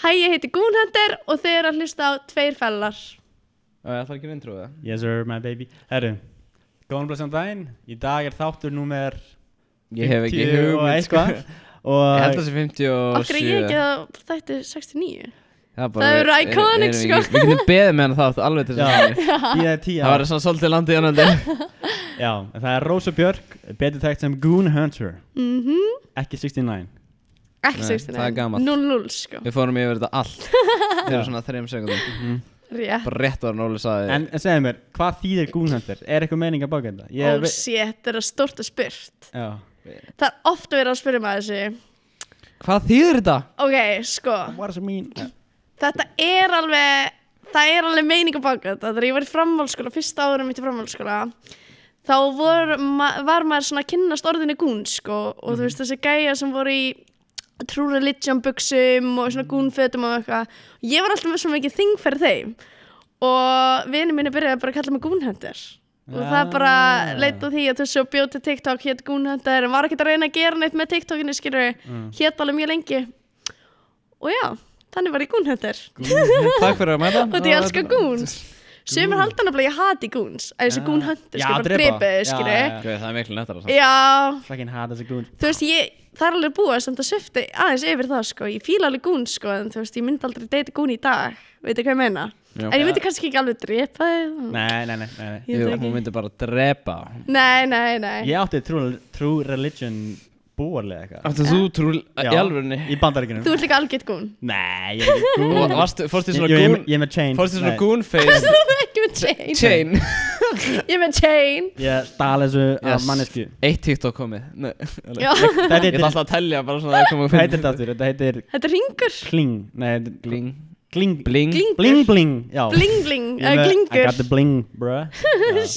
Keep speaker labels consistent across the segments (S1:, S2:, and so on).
S1: Hæ, ég heiti Gúnhendur og þið eru að hlusta á Tveir fellar.
S2: Það þarf ekki að introða það
S3: Yes sir, my baby Herru, góðan blessan daginn Í dag er þáttur númer
S2: Ég hef ekki
S3: 50 og
S2: hugmynd sko.
S3: eitthvað.
S2: Ég held
S3: Og
S2: það sem 57
S1: Okkur er ég ekki að þætti 69.
S2: Það, er
S1: Það eru
S2: er-
S1: iconic,
S2: erum
S1: sko.
S2: ekki- Við getum beðið með hana þátt alveg til þess
S3: Já.
S2: að
S3: ég er tíu
S2: Það var svona svolítið landið jónandi
S3: Já, en það er Rósa Björk Betur þekkt sem Goon Hunter
S1: Mhm.
S3: Ekki 69
S1: Ekki
S2: Nei,
S1: 69.
S2: það er gamalt.
S1: 0-0, sko.
S2: Við fórum yfir þetta allt Þegar svona þreim sekundum
S1: Rétt.
S2: Bara rétt var Nóli saði
S3: En en segðu mér, hvað þýðir Goon Hunter? Er eitthvað meining að baka þetta?
S1: Ó,
S3: vei-
S1: shit, þetta er stórt að spurt.
S3: Já
S1: Það er ofta verið að spyrja maður þessi.
S2: Hvað þýðir þetta?
S1: Ok, sko.
S3: What does it mean?
S1: Þetta er alveg, það er alveg meining að baka þetta. Þegar ég var í framhaldsskóla, fyrsta árum mitt í framhaldsskóla, þá vor, ma var maður svona að kynnast orðinu gún, sko. Og
S3: Mhm.
S1: þú veist, þessi gæja sem voru í true religion buksum og
S3: Mhm.
S1: svona gúnfötum og eitthvað. Ég var alltaf með svo mikið þing fyrir þeim. Og vinið minni byrjaði bara að kalla mig gúnhendur. Og það bara
S3: Ah.
S1: leitt á því að þessu og bjóti TikTok hétt gúnhendur en var ekkert að reyna að gera neitt með TikTokinu, skilur við.
S3: Mm.
S1: Hétt alveg mjög lengi. Og já, þannig var ég gúnhendur.
S2: Takk fyrir að mæta
S1: Og ég
S3: Ah,
S1: elska gúns Sumir halda nefnilega að ég hati gúns Að þessu
S3: Já.
S1: gún höndur
S3: Ah. Já,
S1: skilur bara
S3: drepa.
S1: drepa þau
S3: Já,
S1: skilur
S3: já,
S2: Guð, Það er miklu nættara
S1: Já,
S3: Fucking hard as a goon
S1: þú veist ég Það er alveg búið að senda svifti aðeins yfir það sko Ég fíla alveg gún sko En þú veist ég myndi aldrei deyta gún í dag Veitu hvað ég meina
S2: Já.
S1: En ég myndi kannski ekki alveg drepa þau
S3: Nei, nei, nei, nei, nei.
S1: Ég veit
S2: Jú,
S1: ekki.
S2: hún myndi bara drepa
S1: Nei, nei, nei
S3: Ég átti true, true religion búarlega eitthvað
S2: Áttu þú trúl
S3: Já,
S2: í alvörunni
S3: Í bandaríkunum
S1: Þú ert líka algjört gún
S3: Nei, ég er ekki gún
S2: Og varstu, fórstu í
S3: Ég,
S2: svona
S3: ég, ég,
S2: gún
S3: ég er með chain
S2: Fórstu í svona
S3: Nei.
S2: gún face
S1: Þú ert ekki með chain
S2: Chain
S1: Ég er með chain
S3: Ég stal þessu
S2: Yes.
S3: af mannesku
S2: Eitt TikTok komið Nei, alveg.
S1: Já.
S3: Þetta
S2: Ég ætla
S3: heitir,
S2: alltaf að tellja bara svona að koma að
S3: hvað heitir þetta aftur? Þetta heitir
S1: Þetta er ringur
S3: kling Nei, þetta er
S2: Bling
S3: Kling
S2: Bling
S1: Gling-
S3: Bling bling Já
S1: Bling bling
S3: Ég
S1: Eða
S3: með- I
S1: glingur
S3: got the bling, bruh
S2: Fórstu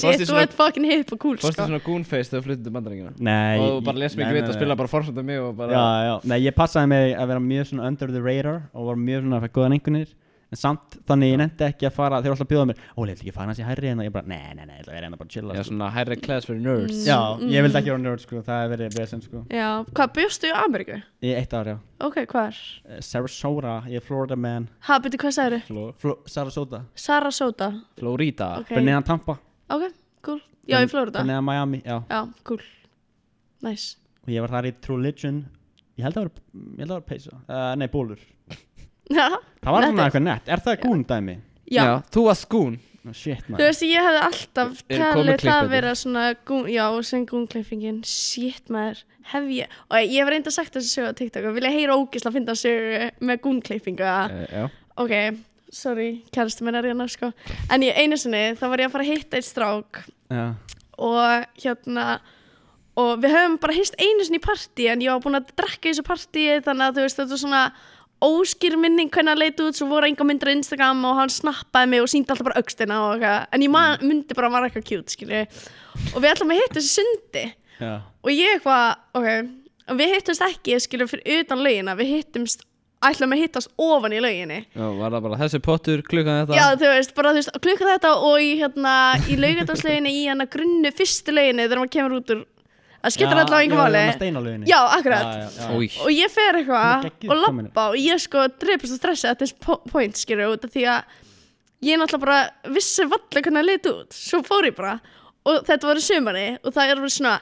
S1: Shit,
S2: í
S1: þú
S2: svona-
S1: ert fucking hip og cool sko
S2: Fórstu í svona gún face þegar þú fluttir til bandaríkina
S3: Nei
S2: Og þú
S3: ég-
S2: bara les
S3: nei,
S2: mikið við
S3: nei,
S2: að
S3: nei.
S2: spila bara forsvönda mig og bara
S3: Já, já Nei, ég passaði mig að vera mjög svona under the radar Og var mjög svona að fæða góðan einhvernir En samt, þannig ég nefndi ekki að fara Þeir voru alltaf að bjóða mér Óli, ég ætla ekki að fara hans í hærri En ég bara, nei, nei, nei, ég ætla að vera hérna bara að chilla
S2: Já,
S3: sko.
S2: svona hærri class fyrir nerds
S1: Mm.
S3: Já, ég vildi ekki vera nörd sko, það hefur verið vesen sko
S1: Já, hvað bjóstu í Ameríku?
S3: Í eitt ár, já
S1: Ok, hvað er?
S3: Eh, Sarasota, ég er Florida man
S1: Ha, byrju, hvað sagður þau?
S2: Flo-
S3: Flo Sarasota,
S1: Sarasota
S2: Florida
S1: Ok,
S3: fyrir neðan Tampa
S1: ok, cool Já, í Florida
S3: Fyrir neðan Miami, já
S1: Já, cool Nice
S3: Og ég var þar í True Religion Ég held að vera, ég held að vera peysa uh, Nei, bólur
S1: Já,
S3: Það var
S1: Nett
S3: svona
S1: er-
S3: eitthvað nett, er það gún dæmi?
S1: já
S2: Þú varst gún
S3: Oh, shit,
S1: Þú
S3: maður
S1: veist, ég hefði alltaf
S2: Er- er komið
S1: talið
S2: klipp
S1: það
S2: þetta?
S1: vera svona gún, Já, sem gúnklippingin Shit, maður Hef ég Og ég hef reynda sagt þessu sögu á TikTok Og vilja heyra ógisla að finna sögu með gúnklippingu
S2: Eh, Já
S1: Ok, sorry, kæristu minn er hérna, sko En ég, einu sinni, þá var ég að fara að hitta eitt strák
S3: Já,
S1: og hérna og við höfum bara hist einu sinni í partí en ég var búin að drekka í þessu partí þannig að þú veist þetta var svona óskýr minning hvernig hann leit út svo voru enga myndir á Instagram og hann snappaði mig og síndi alltaf bara aukstina og eitthvað en ég man, myndi bara að hann var eitthvað cute skilju og við ætlum að hitta þessi sundi
S3: já,
S1: og ég eitthvað, ok og við hittumst ekki skilju fyrir utan laugina við hittumst, ætlum að hittast ofan í lauginni
S2: Já, var það bara þessi pottur klukkan þetta
S1: Já, þú veist, bara þú veist, klukkan þetta og í, hérna, í laugardagsleginni, í hérna grunnu fyrstu leginni þegar maður kemur út úr það skiptir alltaf
S3: já,
S1: engum
S3: Já,
S1: máli
S3: steinalöginni
S1: Já, akkurat.
S2: Új
S1: og ég fer eitthvað
S3: Þú ert geggjuð
S1: og
S3: komin.
S1: lappa og ég sko dreipast og stressa at this po- point, skilur, út af því að ég náttúrulega bara vissi valla hvernig að leit út, svo fór ég bara og þetta var í sumari og það er verið svona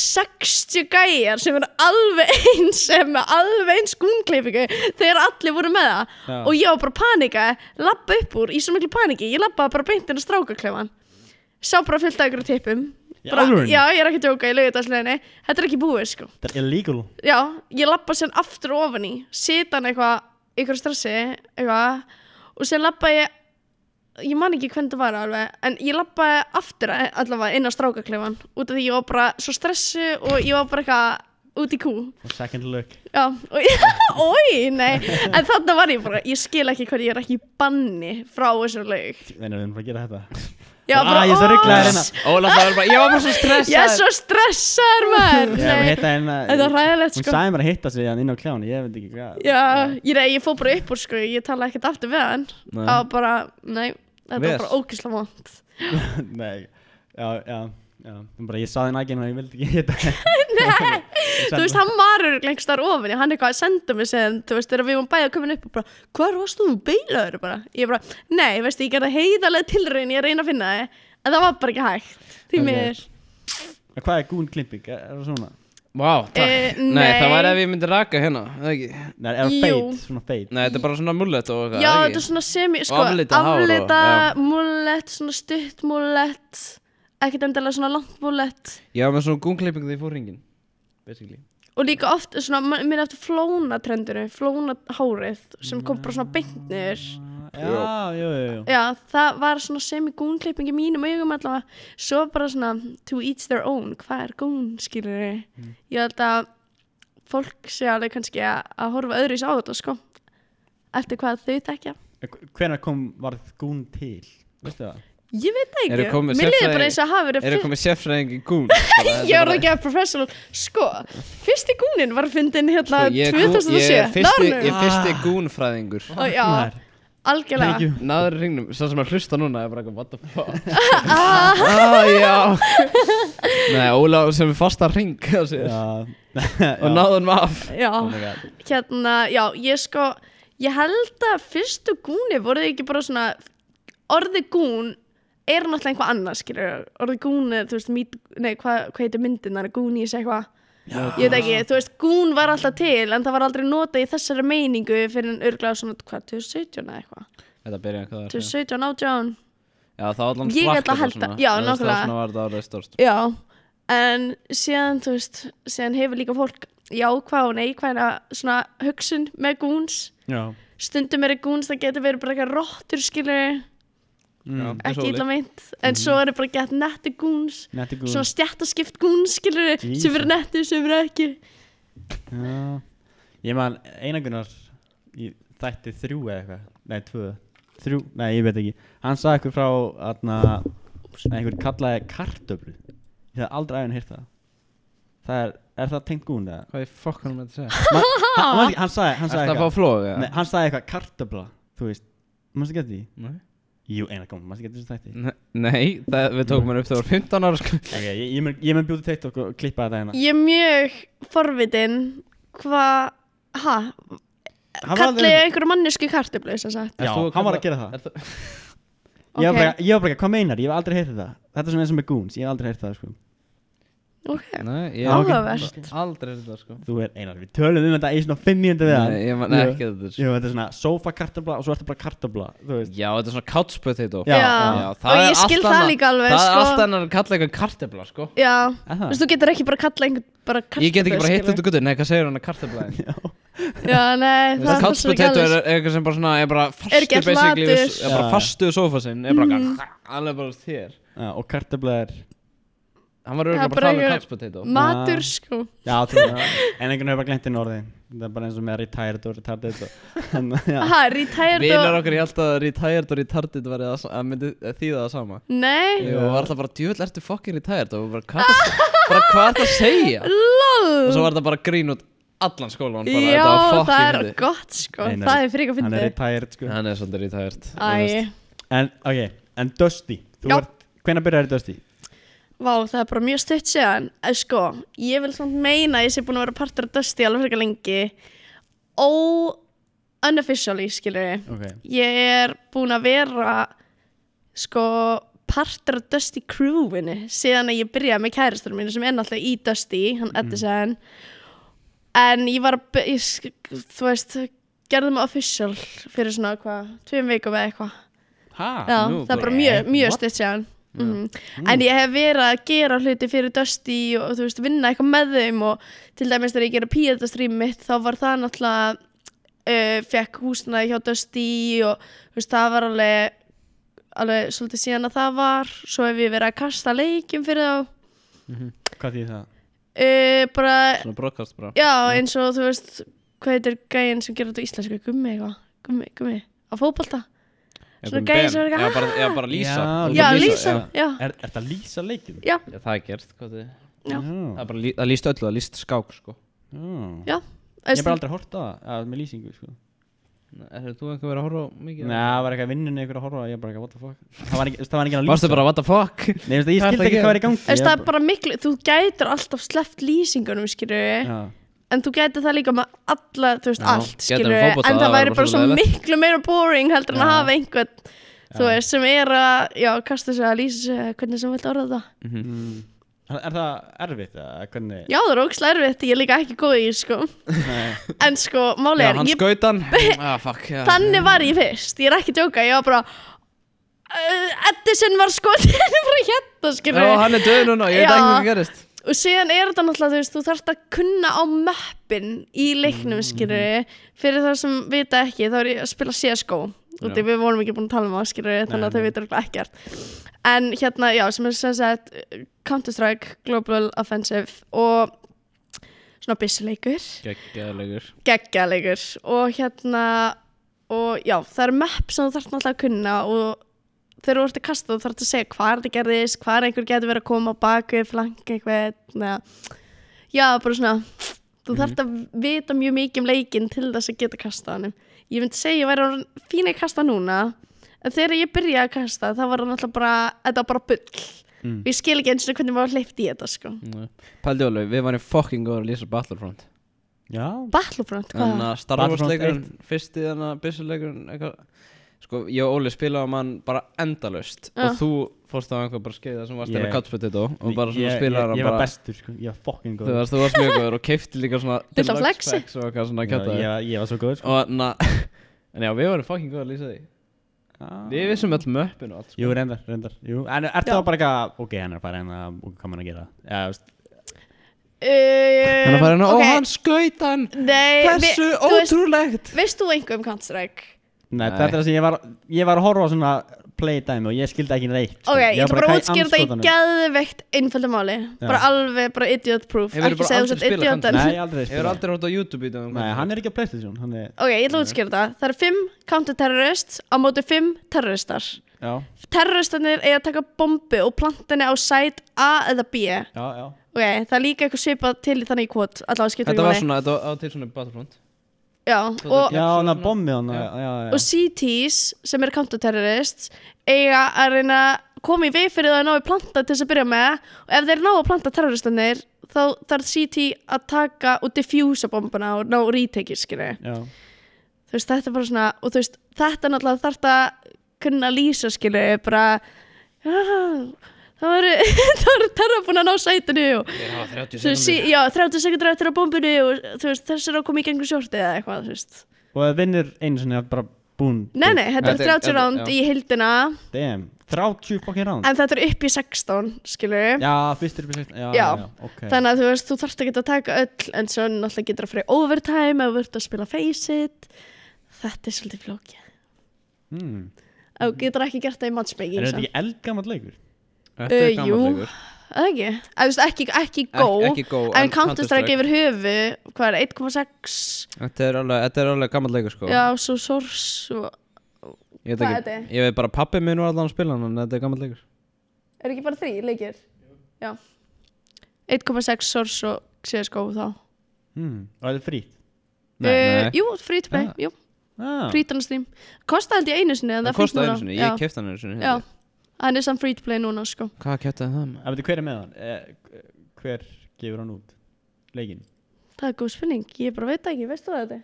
S1: 60 gæjar sem eru alveg eins sem er alveg eins gúnklippingu þegar allir voru með það
S3: Já.
S1: og ég var bara að panika, lappa upp úr í svo miklu paniki, ég lappaði bara beint inn að strákaklefan sá bara fullt af ykkur tippum
S3: Í
S1: bara,
S3: alvörunni?
S1: já, ég er ekki að djóka, ég lögði þetta þetta er ekki búið sko
S3: Það er illegal
S1: já, ég lappa sér aftur ofan í sita hann eitthvað, eitthvað stressi eitthvað, og sér lappa ég ég man ekki hvernig það var alveg en ég lappaði aftur a- allavega inn á strákaklefan út af því ég var bara svo stressu og ég var bara eitthvað út í kú
S3: Og second look
S1: já, og oi, nei en þarna var ég bara, ég skil ekki hvernig ég er ekki í banni frá þessu laug
S3: Nei, nei, við erum bara að gera þetta
S1: ég var
S3: Ah, ég er svo ruglaður
S1: "Oss,
S3: hérna."
S2: Óla, það var bara, ég var bara svo stressað
S1: ég er svo stressaður maður
S3: Ég hef
S1: Nei,
S3: hitta hérna
S1: þetta var ræðilegt
S3: Hún
S1: sko
S3: sagði mér að hitta sig hann inn á kljáni, ég veit ekki hvað
S1: Já, ég, nei, ég fór bara upp úr sko, ég tala ekkert aftur við hann
S2: Nei.
S1: Það var bara, nei, þetta
S2: Ves.
S1: var bara ógislega vond
S3: Nei, já, já Já, þú bara, ég saði nægin og ég vildi ekki hitta Nei,
S1: þú veist, hann var lengst þar ofin og hann eitthvað að senda mig sem, þú veist, þegar við vorum bæði að koma upp og bara, hvar varst þú beilaður bara? Ég bara, nei, veist, ég gerði heiðarlega tilraun, ég reyna að finna þið en það var bara ekki hægt, því
S3: Ok.
S1: miður
S3: Hvað er gún klimping, er er það svona?
S2: Vá, takk
S1: Eh,
S2: Nei, það
S1: nei.
S2: væri ef ég myndi raka hérna, eða ekki
S3: Nei, er það
S1: Jú.
S3: feit, svona feit
S2: Nei, þetta er bara svona mullet og eitthvað,
S1: Já,
S2: eða
S1: þetta
S2: ekki?
S1: er svona semi, sko,
S2: aflitað hár og-
S1: aflita
S2: já.
S1: múlett, svona stutt múlett ekkert endilega svona langt múlett
S2: Ég var með svona gúnklippingu þegar ég fór hringin Basically
S1: og líka oft, svona, ma- mér er eftir flóna trendinu, flóna hárið sem kom bara svona beint niður
S3: Ah, Já, jú, jú, jú
S1: Já, það var svona semi-gún-klipping í mínum augum allavega svo bara svona to each their own hvað er gún, skilur
S2: Mm.
S1: ég held að fólk sé alveg kannski að, að horfa öðru í sig á þetta sko, eftir hvað þau tekja
S3: Hvenær kom, varð gún til? Veistu það?
S1: Ég veit það
S2: Eru
S1: ekki,
S2: komið
S1: mér liður
S2: sérfræði-
S1: bara eins og að hafa verið
S2: Er það
S1: fyr-
S2: komið sérfræðing í gún? Bara, þetta
S1: Ég
S2: er
S1: var
S2: bara-
S1: ekki að professional Sko, fyrsti gúnin var fyndin hérna
S2: Sko, ég er gún- Ég er
S1: 2007
S2: fyrsti, ég
S1: Náðurinn
S2: er fyrsti gúnfræðingur
S1: Ó, Já, algjörlega
S3: Thank you.
S2: Náður hringnum, sá sem að hlusta núna er bara eitthvað, what the fuck Ah, já Nei, Óla sem er fast að hring á sér.
S3: Já,
S2: Og
S3: já.
S2: náður maður af
S1: Já,
S3: Oh my god.
S1: hérna, já, ég sko Ég held að fyrstu gúni voru ekki bara svona Orði gún er náttúrulega einhvað annað skilur Orði gún er, þú veist, mít, nei, hvað hva heitir myndin þar Gún í þessu eitthvað Ég veit ekki, þú veist, gún var alltaf til en það var aldrei notað í þessari meiningu fyrir en örglega svona, hvað, 2017 eða eitthvað
S2: Þetta byrja hvað það er
S1: 2017, 18
S2: Já, það var allan
S1: Ég ætla að
S2: svart eitthvað
S1: halda-
S2: svona.
S1: já,
S2: Þú veist, Það
S1: nákvæmlega.
S2: var svona var þetta árið stórst
S1: Já, en síðan, þú veist, síðan hefur líka fólk jákvæð og neikvæðna svona hugsun með gúns.
S3: Já,
S1: Stundum eru gúns, það getur verið bara eitthvað rottur, skilur,
S2: Já,
S3: mm.
S2: þetta er
S1: ekki illa
S2: svoleiðis.
S1: meint. En
S2: Mhm.
S1: svo eru bara gett nettu gúns,
S3: netti gún
S1: svona stjættaskipt gúns, skilur, sem eru nettu, sem eru ekki.
S3: Já, ég man einagunar í þætti þrjú eða eitthvað, nei tvö, þrjú, nei ég veit ekki, hann sagði eitthvað frá aðna, einhvern kallaði kartöflu, ég hef aldrei aðeins hýrt það, það er, er það tengt gún eða?
S2: Hvað er fokk hann með þetta að segja?
S3: Man, hann, hann, hann sagði, hann
S2: Þetta
S3: sagði
S2: að fá
S3: eitthvað,
S2: flóð, já?
S3: nei, hann sagði eitthvað kartöfla, þú veist, mástu ekki eftir því?
S2: Nei.
S3: Jú, einagum, mástu ekki eftir þessu þætti?
S2: Ne- Nei, það, við tókum hann upp þegar við varum 15 ára sko.
S3: Ok, ég, ég, mun, ég mun bjóti teitt okkur og klippa þetta hérna.
S1: Ég er mjög forvitin hvað, ha,
S3: Hann var
S1: kallið
S3: alveg-
S1: einhverju mannesku kartöflu, sem sagt.
S3: Já,
S2: Ert þú
S3: hann var
S2: kalla-
S3: að gera það.
S2: Ert þú-
S1: Ok,
S3: Ég var bara, ég var bara, hvað meinar, ég hef aldrei heyrt þetta, þetta er svona eins og með goons, ég hef aldrei heyrt það, sko.
S1: ok,
S2: Nei, ég
S3: Já, ok.
S1: áhugavert.
S2: aldrei þetta sko
S3: Þú er einar, við tölum um þetta í svona fimm mínúti við hann
S2: Nei, ég man ekki að þetta sko
S3: Jú, þetta er svona sofakartabla og svo ertu bara kartabla Þú veist
S2: Já, þetta er svona couch potato
S3: Já,
S1: Já,
S3: já.
S2: það
S1: og
S2: er
S1: ég skil
S2: allt
S1: það
S2: annað-
S1: líka alveg
S2: Það er
S1: sko.
S2: allt annar að kalla eitthvað kartebla sko
S1: Já,
S3: Er
S1: þú
S3: það?
S1: veist, þú getur ekki bara kallað einhvern bara kartöflu
S2: Ég get ekki bara hitt
S1: skilur.
S2: þetta guttur, nei, hvað segir hann að kartebla
S1: Já, nei, það er
S2: Couch
S1: svo ekki
S2: potato er
S1: alveg
S2: er eitthvað sem bara svona er bara fastu
S1: Er Mm. ekki allt
S2: basically við-
S1: matur.
S2: Er bara
S3: Já.
S2: fastu við sófa sinn Er bara alveg bara þér
S3: Já, og kartabla er
S2: Hann var
S1: Já,
S2: auðvitað bara
S1: bara
S2: að tala um
S1: eitthvað-
S2: couch potato
S1: Matur, sko
S3: Já, þú veist En einhvern veginn hefur bara glemt inn orði Það er bara eins og með retired og retarded og- En, já
S1: Aha, retired
S2: Vinar
S1: og
S2: okkar, ég held að retired og retarded verið að, að myndi að þýða það sama
S1: Nei,
S2: Jú, og var alltaf bara, djúvill, ertu fucking retired og bara, hvað ertu- bara, hvað er það að segja? og svo
S1: lol
S2: var þetta bara grín út allan skólan bara,
S1: Já,
S2: þetta var
S1: það
S2: fucking
S1: er
S2: fyndið.
S1: gott, sko
S3: Einar-
S1: Það er frík að
S3: Hann er
S1: fyndi
S3: retired, sko
S2: hann er svolítið retired þú
S1: Æ,
S2: veist.
S3: En, ok, en Dusty Þú
S1: Já.
S3: ert, hvenær byrjar Dusty?
S1: vá, það er bara mjög stutt séðan En sko, ég vil samt meina að Ég sé búin að vera partur af Dusty alveg frekar lengi Ó Unofficially, skilur ég
S3: Ok
S1: ég er búin að vera sko partur af Dusty Crewinu síðan að ég byrjaði með kæristur mínu sem er náttúrulega í Dusty,
S2: Mhm.
S1: hann Edison en ég var að by- ég, sk- þú veist, gerði mig official fyrir svona hvað, tveim vikum eða eitthvað
S3: Ha?
S1: Já,
S2: nú,
S1: það er bara
S2: bara-
S1: mjög, mjög
S3: What?
S1: stutt séðan Mm. En ég hef verið að gera hluti fyrir Dusty og þú veist, vinna eitthvað með þeim og til dæmis þegar ég gera píeta stream mitt þá var það náttúrulega uh, fekk húsnaði hjá Dusty og þú veist, það var alveg alveg svolítið síðan að það var svo hef ég verið að kasta leikjum fyrir þá
S3: Hvað þýðir það?
S1: uh, bara,
S2: svona brokkast bara
S1: já, eins og þú veist hvað heitir gæinn sem gerir þetta á íslensku gummi eitthvað, gummi, gummi á fótbolta, svona gæi sem er eitthvað,
S2: já, bara, já, bara lýsa
S3: Já,
S2: Þú
S1: já,
S2: bara
S1: Lísa, já,
S3: Er, er það lýsa leikin?
S1: já,
S2: Já, það er gert hvað þið-
S1: Já.
S2: það er bara lí- það lýst öllu, það lýst skák sko
S3: Já.
S1: já
S3: Ég hef bara aldrei hort á það að- með lýsingu, sko
S2: Er þú eitthvað verið að horfa á mikið?
S3: Nei, það var eitthvað vinnunni ykkur að horfa og Ég bara eitthvað, what the fuck Það var ekki, það var ekki að lýsa
S2: Varstu bara what the fuck?
S3: Nei, veistu,
S2: Hvað ertu
S3: ég
S2: að
S3: skildi ekki
S2: gera?
S3: hvað var í gangi
S1: Þú veist,
S3: Ég
S1: það er bara miklu, þú gætir alltaf sleppt lýsingunum, skilju,
S3: Já,
S1: en þú gætir það líka með alla, þú veist,
S2: Já,
S1: allt,
S2: gætir
S1: skilju,
S2: með fótbolta,
S1: en
S2: það
S1: það
S2: væri
S1: væri bara
S2: bara
S1: svo
S2: svo
S1: miklu meira boring heldur en að
S3: Já.
S1: hafa einhvern, þú
S3: Já.
S1: veist, sem er að, já, kasta sig að lýsa sig, hvernig sem vilt orða það.
S3: Mm. Er er það erfitt eða hvernig?
S1: Já, það er ógst erfitt, ég er líka ekki góð í, því, sko,
S3: Nei.
S1: en sko, máli
S2: Já,
S1: er,
S2: hann
S1: ég,
S2: skaut hann Ah, fuck já.
S1: þannig var ég fyrst, ég er ekki að djóka, ég var bara, uh, Edison var skotin frá hérna, skilju.
S2: Já, hann er döð núna, ég veit
S1: Já.
S2: ekki hvað gerist
S1: og síðan er þetta náttúrulega, þú veist, þú þarft að kunna á möppin í
S3: Mm.
S1: leiknum, skilur fyrir það sem vita ekki, þá er ég að spila CSGO og
S2: Já.
S1: því við vorum ekki búin að tala um það, skilur þannig að
S3: nei.
S1: þau vita örugglega ekkert en hérna, já, sem er sem sagt Counter-Strike Global Offensive og svona byssuleikur
S2: Geggjaðlegur
S1: geggjalegur og hérna og já, það eru mapp sem þú þarf náttúrulega að kunna og þegar þú ert að kasta þú þarf að segja hvað þetta gerðist, hvað einhver getur verið að koma á baku, flank eitthvað neða. já, bara svona þú
S2: Mhm.
S1: þarf að vita mjög mikið um leikinn til þess að geta kastað hann ég myndi segja, ég væri orðin fín að kasta núna en þegar ég byrjaði að kasta þá var það náttúrulega bara, þetta var bara bull
S3: Mm.
S1: og ég skil ekki eins og hvernig maður hleypt í þetta sko.
S2: Pældi Ólu, Mm. við varum fucking góður að lýsa Battlefront
S3: Já,
S1: Battlefront, hvað?
S2: Þannig að Star Wars
S3: Battlefront
S2: leikurinn, fyrsti þannig að byssuleikurinn eitthvað Sko, ég og Óli spilaðum hann bara endalaust
S1: Já.
S2: Og þú fórst á einhver bara skeiða sem varst
S3: Ég-
S2: yeah. couch potato Og bara svona
S3: Ég-
S2: spilaðar
S3: ég-
S2: hann
S3: Ég var
S2: bara
S3: bestur, sko, ég var fucking
S2: Þú
S3: góð
S2: varst, þú varst mjög góður og keifti líka svona
S1: Litla
S2: deluxe
S1: flexi.
S2: packs Og eitthvað svona
S3: Já,
S2: kjátaði
S3: ég var- Ég var svo góð, sko
S2: Og þannig að En já, við varum fucking góður að lýsa því
S1: Ah.
S2: Við vissum öll möppin og allt sko.
S3: Jú, reyndar, reyndar Jú, en er
S1: Já.
S3: það bara eitthvað Ok, hann er að fara hérna og hvað maður að gera Já, þú veist
S2: Hann
S1: Þannig
S2: er farin að, ó hann skaut hann
S1: Nei,
S2: Hversu
S1: vi- Eh, þú veist-
S2: ótrúlegt
S1: Veist þú einhver um Counter-Strike?
S3: Nei,
S2: Nei.
S3: þetta er það sem ég var Ég var að horfa á svona playdæmi og ég skildi ekki neitt sko.
S1: Ok, ég
S3: var
S1: ætla bara
S3: hvað
S1: að
S3: í
S1: útskýra þetta í
S3: andskotanum?
S1: geðveikt einföldu máli Bara alveg, bara idiot proof
S2: Hefurðu
S1: Ekki
S2: bara
S1: segja
S2: aldrei
S1: þú sett
S2: spilað
S1: idiot en
S3: Nei, ég aldrei
S2: Ég hefur
S3: spila
S2: aldrei hótt á YouTube í dag um
S3: Nei, hann er ekki að playstation Hann er,
S1: Ok, ég ætla að útskýra þetta Það eru fimm counter-terrorists á móti fimm terroristar
S3: já,
S1: Terroristarnir eiga að taka bombu og plantinni á sæt A eða B Ok,
S3: já, já
S1: það er líka eitthvað svipað til í þannig í kvot Allavega skiptum
S2: Þetta var svona, þetta var á til svona Battlefront
S1: Já, og,
S3: Já, hann
S2: svona-
S3: að bombi hann Já, já, já
S1: og CTs sem eru counter-terrorists eiga að reyna að koma í veg fyrir það að ná í planta til þess að byrja með og ef þeir ná að planta terroristanir þá þarf CT að taka og diffjúsa bombana og ná rítekið skilju
S3: Já,
S1: þú veist þetta er bara svona og þú veist þetta náttúrulega þarf að kunna lýsa skilju bara já, það voru það voru terra búin að ná sætinu og
S2: Þeir hafa 30
S1: þú veist sí- já, 30 sekundur eftir á bombinu og þú veist þess er að koma í gengum sjórti eða eitthvað þú veist
S3: og það vinnur einu sinni að bara búin
S1: Nei, nei, þetta
S2: Þetta
S1: er 30
S2: er- þetta-
S1: ránd
S2: já.
S1: í hildina
S3: Damn, 30 fokkin ránd
S1: En þetta er upp í 16, skilur
S3: Já, fyrstir upp í sexta Já,
S1: Já.
S3: já, ok
S1: Þannig að þú veist, þú þarft ekki að taka öll En svo náttúrulega getur að fara í overtime Ef þú ert að spila face it Þetta er svolítið flókið
S3: Hmm.
S1: Ef þú
S2: Mm.
S1: getur ekki gert það í matchmaking
S3: Er þetta
S1: Það
S3: ekki eldgammal leikur?
S2: Þetta
S1: Uh,
S2: er
S1: jú.
S2: gammal leikur
S1: ekki, Eða, þú veist, ekki, ekki
S2: Ek-
S1: go
S2: Ekki Go
S1: En Counter-Strike yfir höfu Hvað er, 1,6
S2: Þetta er alveg, þetta er alveg gammal leikur sko
S1: Já, svo source og...
S2: Ég veit
S1: hvað er
S2: ekki,
S1: þetta?
S2: ég veit bara pappi minn var allan að spila hann En þetta er gammal leikur
S1: Er ekki bara þrý leikir? Já 1,6 source og CSGO þá
S3: Hmm. Og þetta er frýtt
S2: Nei,
S1: Eh,
S2: nei.
S1: Jú, free to play,
S2: Ah.
S1: jú,
S3: ah.
S1: free to stream Kostaði held ég einu sinni en
S2: Það
S1: það fýtt
S2: kosti
S1: núna.
S2: einu sinni,
S1: Já.
S2: ég kefti hann einu sinni
S1: Já,
S2: held ég.
S1: hann er samt free to play núna sko
S2: Hvað kefti það maður?
S3: Það veitir hver er með hann? Eh, hver gefur hann út? Leikinn?
S1: Það er góð spurning, ég bara veit það ekki, veistu það þetta?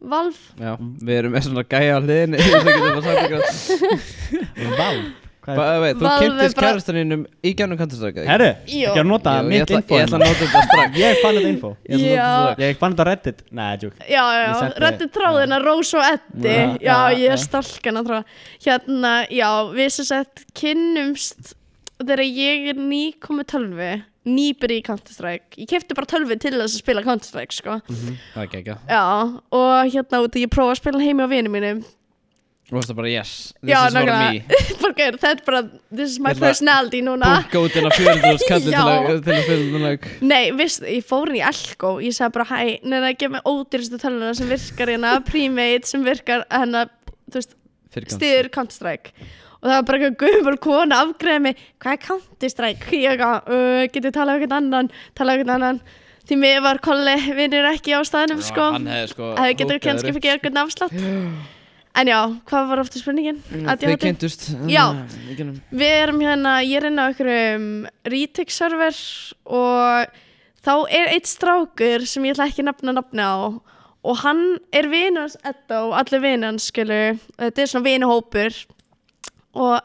S1: Valf
S2: Já, við erum með svona gæja á hliðinni sem getur bara sagt ykkur að-
S3: Val Hvað er
S2: Bara, veit, Þú
S1: Valve er
S2: kynntist
S1: bara-
S2: kærastaninum í gennum Counter-Strike eða ekki?
S3: Herru,
S1: Jó.
S3: ekki að nota
S2: Jú, Ég
S3: mitt
S2: ætla-
S3: info hérna.
S2: ég ætla að nota þetta strax
S3: Ég fann þetta info
S2: Ég ætla að nota þetta strax.
S3: Ég fann þetta á reddit Nei, joke
S1: Já, já,
S3: Ég
S1: já,
S3: setti-
S1: rætti tráðina Rós og Eddi
S3: Ja,
S1: Já,
S3: ja,
S1: ég
S3: ja.
S1: er stalkan að tráða Hérna, já, við sem sett kynnumst þegar ég er nýkomi tölvi nýbyrði í Counter-Strike Ég kefti bara tölvi til þess að spila Counter-Strike sko
S2: Það er gekkja
S1: Já, og hérna út ég prófa að spila heimi á vinu mínum
S2: Þú varst bara yes, this
S1: Já,
S2: is for me
S1: Bara, gaur, Þetta er bara, this is my
S2: Ég ætla-
S1: personality núna
S2: Búka út hérna 400 kallið til að
S1: Já.
S2: til að spila þennan leik
S1: Nei, viðst, ég fór inn í Elko Ég sagði bara, hæ, neina, gef mér ódýrstu töluna sem virkar hérna, premade sem virkar hérna, þú veist,
S2: Fyrirgangst.
S1: stiður Counter-Strike og það var bara eitthvað gömul kona afgreðið mig hvað er Counter-Strike? Ég eitthvað, uh, getið talað um eitthvað annan, talað um eitthvað annan Því mig var kolli vinnur ekki á staðnum sko
S2: Hann hefði sko
S1: Hefði getur
S2: hótað
S1: kannski
S2: þér upp,
S1: fyrir einhvern
S2: sko.
S1: afslátt En já, hvað var ofta spurningin? ADHD?
S2: Þau kynntust
S1: Já.
S2: í gegnum-
S1: Við erum hérna, ég er inn á einhverjum Retex server og þá er eitt strákur sem ég ætla ekki að nefna nafni á og hann er vinur hans Edda og allir vinur hans skilur og þetta er svona vinuhópur og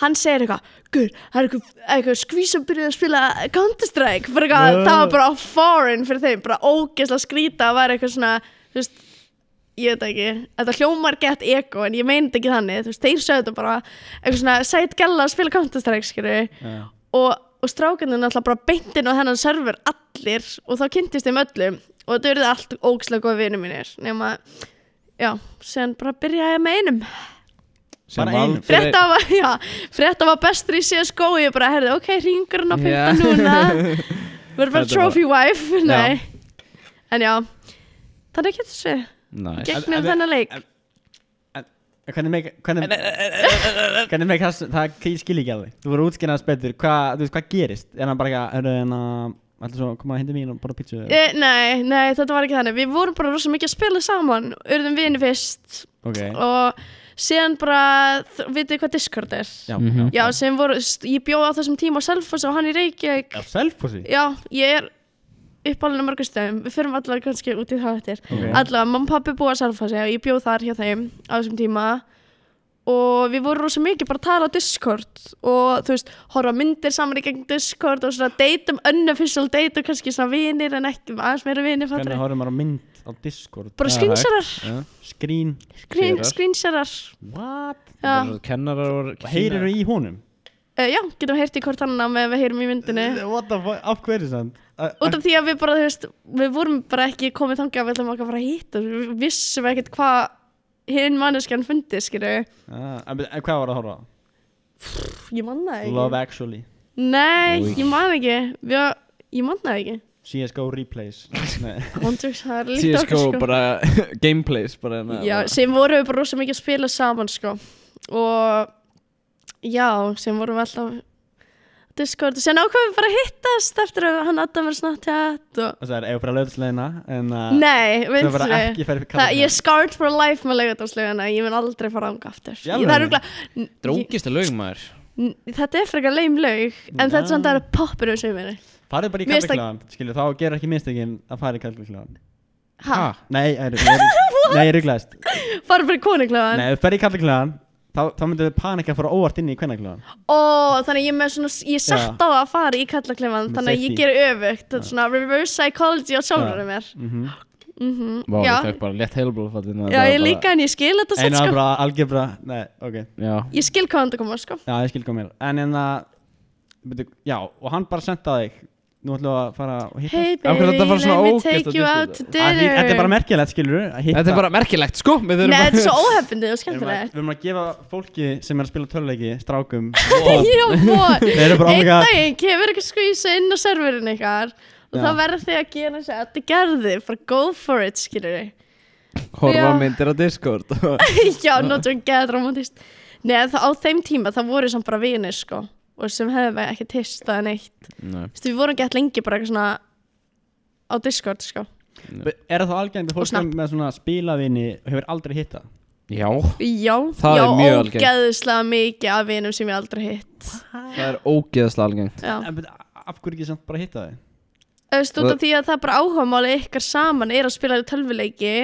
S1: hann segir eitthvað Guð, það er eitthvað, eitthvað skvís að byrja að spila Counter-Strike bara eitthvað,
S3: Nei.
S1: það var bara foreign fyrir þeim, bara ógeðslega skrýta að vera eitthvað svona, þú veist ég veit ekki, þetta hljómar gett ego en ég meina þetta ekki þannig, þú veist, þeir sögðu þetta bara eitthvað svona sætt gæla að spila Counter-Strike skilur
S3: Já.
S1: og, og strákarnir náttúrulega bara beintin á þennan server allir og þá kynntist þeim öllum og þetta verði allt ógeðslega góð vinur mínir nema, já, sen bara byrjaði ég með einum
S2: Sem
S3: Bara einum.
S2: aldrei-
S1: Frétta var, já, frétta var bestur í CSGO og ég bara, herði, ok, ringur hann á
S2: Já.
S1: fyrta núna verður bara
S2: Þetta
S1: trophy wife,
S2: Já.
S1: nei en já, þannig getur þessi
S2: Nice.
S1: gegnum
S3: En- en-
S1: þennan leik
S3: en- En Hvernig meik, hvernig, hvernig meik það, það ég skil ekki alveg Þú voru útskynast betur, hvað, þú veist, hvað gerist? Er hann bara ekki að, hörru, en að, ætla svo að koma að hindi mín og borða pítsu?
S1: e, nei, nei, þetta var ekki þannig við vorum bara rosa mikið að spila saman urðum vini fyrst
S3: Ok,
S1: og síðan bara, þ- vitið þið hvað Discord er
S3: já,
S2: Mhm.
S1: já, sem voru, st- ég bjóð á þessum tíma á Selfoss og hann í Reykjavík
S3: já Selfossi?
S1: Já, ég er uppalinn á mörgum stöðum, við förum allar kannski út í það eftir.
S3: Ok.
S1: Allavega, mamma og pappi búa að Salfasi og ég bjóð þar hjá þeim á þessum tíma og við vorum rosa mikið bara að tala á Discord og þú veist, horfa á myndir saman í gegn Discord og svona date um unofficial date og kannski svona vinir en ekki aðeins meira vinir fattur.
S3: Hvernig horfum maður á mynd á Discord?
S1: Bara skrýnsarar,
S2: Já.
S3: Skrín
S2: Sérar.
S1: skrýnsarar,
S3: What?
S1: já.
S2: Bara Kennarar voru
S3: Heyrir í honum?
S1: Uh, já, getum heyrt í hvort annan með við heyrum í myndinu.
S3: What the fuck, af hverju sann?
S1: Út af því að við bara, þú veist, við vorum bara ekki komið þangað að við ætlum okkar að fara að hitta Við vissum ekkert hvað hinn manneskjan fundi, skilju
S3: Ah, En en hvað var að horfa á?
S1: Ég man það ekki
S3: Love Actually
S1: Nei,
S2: Új.
S1: ég man ekki við, Ég man það ekki
S3: CSGO Replays Nei
S1: Wonders, það er líkt okkur,
S2: CSGO
S1: sko
S2: bara gameplays bara hérna
S1: Já, sem vorum við bara rosa mikið að spila saman, sko Og já, sem vorum við alltaf á Discord og sen ákvæmum við bara að hittast eftir að hann Adam var snart hjá og...
S3: Og það er eða bara löðsleina En uh,
S1: Nei,
S3: það
S1: veistu
S3: er bara ekki fyrir
S1: Það, ég er scarred for life með laugardalslegana, ég mun aldrei fara ánga aftur. Ég,
S3: Í
S1: það er
S3: alvöru?
S1: rúgla,
S2: Drókist að lögum maður
S1: þetta er frekar leim laug, en
S3: Já.
S1: þetta er samt að það eru poppir um sömurni.
S3: Farið bara í
S1: Mér finnst það-
S3: kallaklegan Skilju þá gerur ekki mistökin Að fara í kallaklegan
S1: Ha?
S3: Nei, ég er- ég er- nei, ég rugglaðist
S1: Fara bara í konunglegan.
S3: Nei, ef þú ferð í kallaklegan Þá, þá myndum við panika að fara óvart inn í kvennaklegan
S1: Ó, þannig ég er með svona, ég er sett á að fara í kallakleman,
S3: Með
S1: þannig að ég
S3: safety.
S1: geri öfugt. Þetta er svona reverse psychology á sjálfurinn
S3: Já.
S1: mér.
S3: mm -hmm.
S1: Mhm,
S2: Vá, ég
S1: Já,
S2: fekk bara létt heilblóðfallin
S1: já, ég líka en ég skil þetta satt
S3: Einar
S1: sko.
S3: bara algebra Nei, ok
S2: Já,
S1: Ég skil hvað hann það koma sko.
S3: Já, ég skil kom mér En en að byrju, Já, og hann bara senda þig Nú ætlum við að fara og hitta
S1: Hey
S2: Af hverju
S1: baby,
S2: þetta var svona
S1: let me
S2: ógeðslega
S1: take you out to dinner.
S3: Þetta er bara merkilegt, skilur
S2: þetta er bara merkilegt sko Við
S1: Nei,
S2: þurfum
S1: þetta er svo
S2: bara
S1: óhefndið og
S3: Við erum að-
S1: skemmtilegt.
S3: við erum að gefa fólki sem er að spila töluleiki, strákum
S1: Já, bóð.
S3: Þeir eru bara "Oh
S1: einn
S3: ámega
S1: daginn kemur eitthvað skvísa inn á serverin ykkar og
S3: Já.
S1: þá verður þið að gera þess að þetta gerði bara go for it, skilur þið
S2: Horfa
S1: Já.
S2: á myndir á Discord
S1: já, not to get romantist neða, þá á þeim tíma þá voru samt bara vinir sko, og sem hefði ekki testað neitt,
S2: Nei,
S1: þú veist, við vorum gett lengi bara eitthvað svona á Discord, sko
S3: Er það algengt að
S1: Og
S3: fólk
S1: snap.
S3: sem með svona spilavinni og hefur aldrei hitta?
S2: Já,
S1: já,
S2: Það
S1: já,
S2: er mjög algengt.
S1: ógeðslega mikið af vinum sem ég aldrei hitt
S2: það er ógeðslega algengt
S1: já,
S3: En byrju, af hverju ekki samt bara hitta þig?
S1: Þú veist, út af því að það er bara áhugamáli ykkar saman er að spila tölvuleiki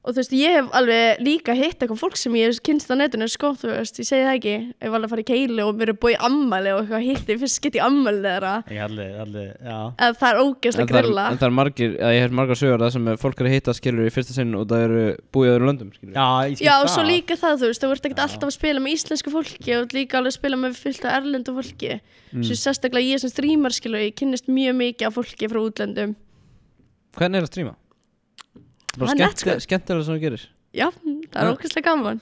S1: og þú veist, ég hef alveg líka hitt eitthvað fólk sem ég hef kynst á netinu, sko, þú veist, ég segi það ekki ég hef alveg að fara í keilu og mér er búið í ammæli og eitthvað hitti, fyrst skitt í ammæli þeirra
S3: Ég allir, allir, já
S1: eða það er
S2: En
S1: ógeðslega
S2: það, er,
S1: grilla
S2: en það er margir, eða ég hef margar sögur það sem er fólk er að hitta skilur í fyrsta sinn og það eru búið í öðrum löndum skilur
S3: Já, ég skil
S1: Já,
S3: það
S1: og svo líka það, þú veist, þú ert ekkert alltaf að spila með íslensku fólki og líka alveg að spila með fullt af erlendu fólki svo
S2: Mm.
S1: sérstaklega ég sem streamer, skilu, ég kynnist mjög mikið af fólki frá útlöndum
S2: Hvernig er að stríma? Bara
S1: Það er nett,
S2: skemmt, skemmtilega sem þú gerir
S1: já, það er
S2: Já.
S1: ókvæmstlega gaman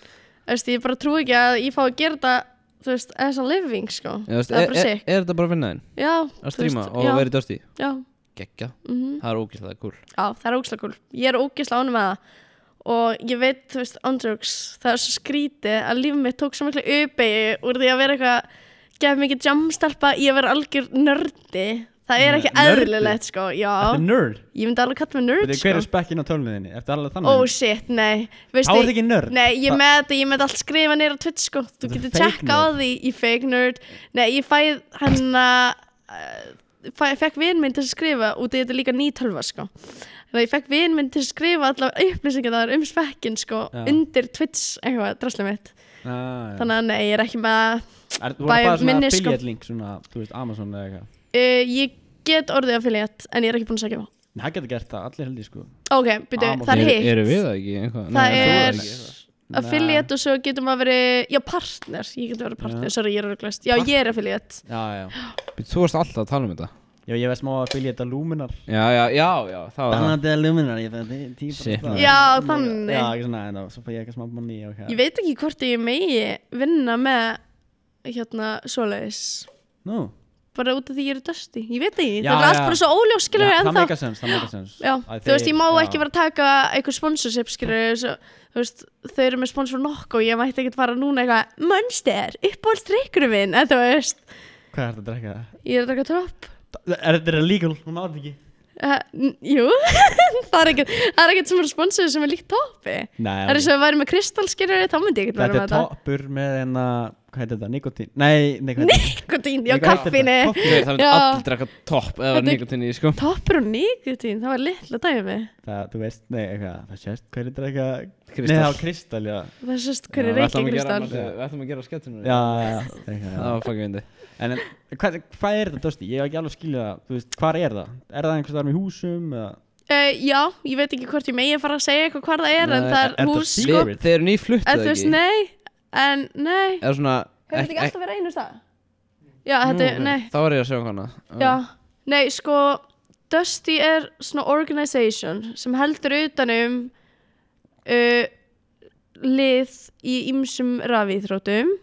S1: Þú veist, ég bara trú ekki að ég fá að gera þetta þú veist, as a living, sko
S2: Já, þú veist,
S1: það
S2: er,
S1: er bara
S2: er,
S1: sikk,
S2: er þetta bara að vinna þinn?
S1: já þú
S2: Að stríma
S1: veist,
S2: og
S1: já,
S2: verið dörsti?
S1: já,
S2: Gekka,
S1: mm
S2: það er ógeðslega cool
S1: já, það er ókvæmstlega cool ég er ókvæmstlega ánum með það og ég veit, þú veist, andrjóks það er svo skrítið að líf mitt tók svo miklu uppeyju úr því að vera eitthvað gef mikið jamstarpa í að vera algjör nördi Það er ekki
S3: Nördur.
S1: eðlilegt sko, já
S3: Þetta er nerd
S1: Ég myndi alveg kalla mig nerd
S3: Veitir, hver
S1: sko
S3: er spekkin á tölvunniðinni? Ertu alveg þannig?
S1: Ó shit, nei Veistu,
S3: Þá er þetta ekki nörd
S1: Nei, ég
S3: Það-
S1: með þetta, ég með allt skrifa neyra á Twitch sko Þú
S3: Þetta er
S1: getur
S3: fake
S1: tjekka á
S3: nerd.
S1: því í fake nerd Nei, ég fæð hann að Fekk vin minn til að skrifa út í þetta er líka nýtölva sko Þannig að ég fekk vin minn til að skrifa allavega upplýsingar það um spekkin sko
S3: Já.
S1: Undir Twitch, eitthvað, draslega mitt
S3: ah,
S1: Þannig að nei, ég er ekki með að
S3: Er, þú voru
S1: by
S3: bara svona
S1: minni, sko.
S3: affiliate link svona, þú veist, Amazon eða eitthvað
S1: uh, Ég get orðið affiliate en ég er ekki búin að segja það
S3: Nei, það getur gert það, allir heldur sko
S1: Ok, byrju,
S3: Amazon.
S1: það er hitt
S2: Eru við það ekki? Eitthvað?
S1: Það
S2: þú
S1: er-
S2: ekki eitthvað.
S1: affiliate og svo getur maður verið já partner, ég getur verið partner,
S3: Já.
S1: sorry ég er örglast já ég er affiliate
S3: Já, já,
S2: Býttu, Þú varst alltaf að tala um þetta
S3: já, ég veist smá affiliate að Luminar
S2: Já, já, já, já Það var það
S3: Þannig að það er Luminar, ég fæði típa
S2: Shit, maður.
S1: Já, þannig.
S3: Já, ekki svona, en þá, svo fæ ég eitthvað smá manni og
S1: ég
S3: eitthvað
S1: veit ekki hvort ég megi vinna með hérna svoleiðis
S3: Nú,
S1: bara út af því ég eru dusty, ég veit ekki
S3: Já,
S1: það er allt
S3: já.
S1: bara svo óljós skilur
S3: Já, það
S1: ennþá
S3: meikar sens, það meikar sens
S1: já,
S3: Að
S1: þú veist
S3: þeir-
S1: ég má
S3: já.
S1: ekki vera að taka eitthvað sponsorship skilur svo, þú veist þau eru með sponsor nokku og ég mætti ekkert fara núna eitthvað mönster, uppáhaldsdrykkurum minn en þú veist,
S3: Hvað er þetta að drekka?
S1: ég er að taka topp
S3: Er þetta illegal? Hún átt ekki
S1: Uh, jú, það er ekkert það er ekkert sem er sponsor sem er líkt toppi
S3: Nei,
S1: Það er eins og við væri með kristalskerjari, þá myndi ég ekkert vera með
S3: Þetta er
S1: þetta
S3: toppur með en að, hvað heitir þetta, nikotín? Nei, nei, hvað heitir þetta?
S1: Nikotín, já,
S3: Ég veit
S1: kaffinu
S3: þetta.
S2: Ég veit, Það myndi
S1: Já.
S2: allir drekka topp eða
S1: Þetta er-
S2: nikotinni, sko
S1: Toppur og nikotín, það var litla dæmi
S3: Það, þú veist, nei, eitthvað, það sést, hvað heitir þetta eitthvað?
S2: Kristall.
S3: Nei, það var kristall, já
S1: Það er sérst hverju
S2: Já, við ætlum
S1: reykja
S2: að gera-
S1: kristall
S2: Við ætlum að gera skettunum
S3: Já, já, já, eitthvað, já.
S2: Það var fucking vindi
S3: En, en hvað, hvað er þetta Dusty? Ég hef ekki alveg skilja það, þú veist, hvað er það? Er það einhvers þar með húsum eða?
S1: uh, Já, ég veit ekki hvort ég megi að fara að segja eitthvað hvar það er En
S3: Nei,
S1: það
S3: er-
S1: er
S3: er
S1: hús,
S3: þetta
S1: sko
S3: secret?
S2: Þeir eru nýflutt
S1: En þú veist, nei En, nei
S2: Eða svona
S1: Hefur þetta ekki alltaf verið einu stað? Já, þetta er, nei
S2: Það var ég að segja um hana
S1: Já, nei sko Dusty er svona organization sem heldur utanum uh, lið í ymsum rafíþrótum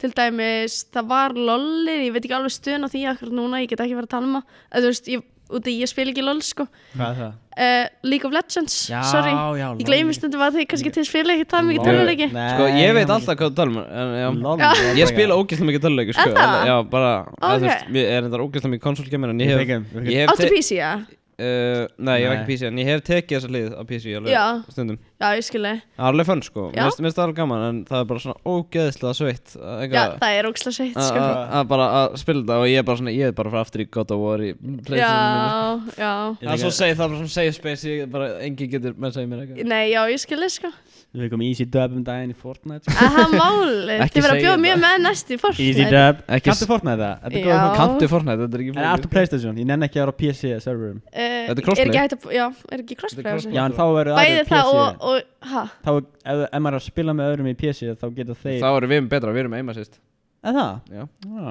S1: til dæmis það var lollir, ég veit ekki alveg stuðan á því akkur núna, ég get ekki verið að tala um það Eða þú veist, ég, úti, ég spil ekki loll sko
S3: Hvað er það?
S1: uh, League of Legends,
S3: Já,
S1: sorry
S3: já,
S1: ég
S3: LOL.
S1: gleymist þetta var því, kannski til spila ekki það mikið
S2: LOL.
S1: tölvuleiki
S3: Nei,
S2: Sko, ég veit alltaf hvað þú talar um en, já.
S3: LOL,
S1: Já.
S3: LOL,
S2: Ég spila ógeðslega mikið töluleiki, sko
S1: Er það?
S2: Já, bara eða,
S1: Ok.
S2: Þú veist, ég er endar ógeðslega mikið konsolgemir En ég
S3: Við
S2: hef
S3: fengum- við fengum-
S2: ég hef
S1: Áttu
S2: te-
S1: PC, já?
S2: Uh, nei, ég var ekki
S3: Nei.
S2: PC, en ég hef tekið þessa lið á PC alveg
S1: Já.
S2: stundum.
S1: Já, ég skilja
S2: Það er alveg fönn sko,
S1: Já.
S2: mér finnst- mér finnst það alveg gaman, en það er bara svona ógeðislega sveitt að-
S1: Já,
S2: eitthvað-
S1: það er ógslag sveitt
S2: að-
S1: sko
S2: að að bara að spila þetta og ég er bara svona, ég er bara frá aftur í God of War í playstation
S1: Já, já
S2: Það er svo safe, það er bara svona safe space, ég bara, engin getur með segja mér eitthvað.
S1: Nei, já, ég skil þið sko
S3: Við fengum Easy Dub um daginn í Fortnite sko.
S1: Aha, máli,
S2: Ekki
S1: þið verða að
S2: segja
S1: bjóða mjög
S2: þetta.
S1: með næst í fólk
S3: Easy Dub
S2: Ekki
S3: Kanntu
S2: s-
S3: Fortnite það? Þetta er
S1: Já.
S3: góð Fortnite
S2: Kanntu Fortnite, þetta er ekki
S3: En ertu Playstation? Ég nenn ekki að vera á PC serverum
S2: Þetta er
S1: Þetta
S2: crossplay.
S1: eh, Er ekki hægt að, já, er ekki
S2: Þetta
S1: crossplay
S2: er
S1: á sig
S3: Já, en þá verður
S1: Bæði
S3: aðrir
S1: það og,
S3: PC
S1: og, ha
S3: Þá, er- ef, ef maður er að spila með öðrum í PC þá geta þeir
S2: Þá erum við betra, við erum eima sýst.
S3: Er það?
S2: Já.
S3: Já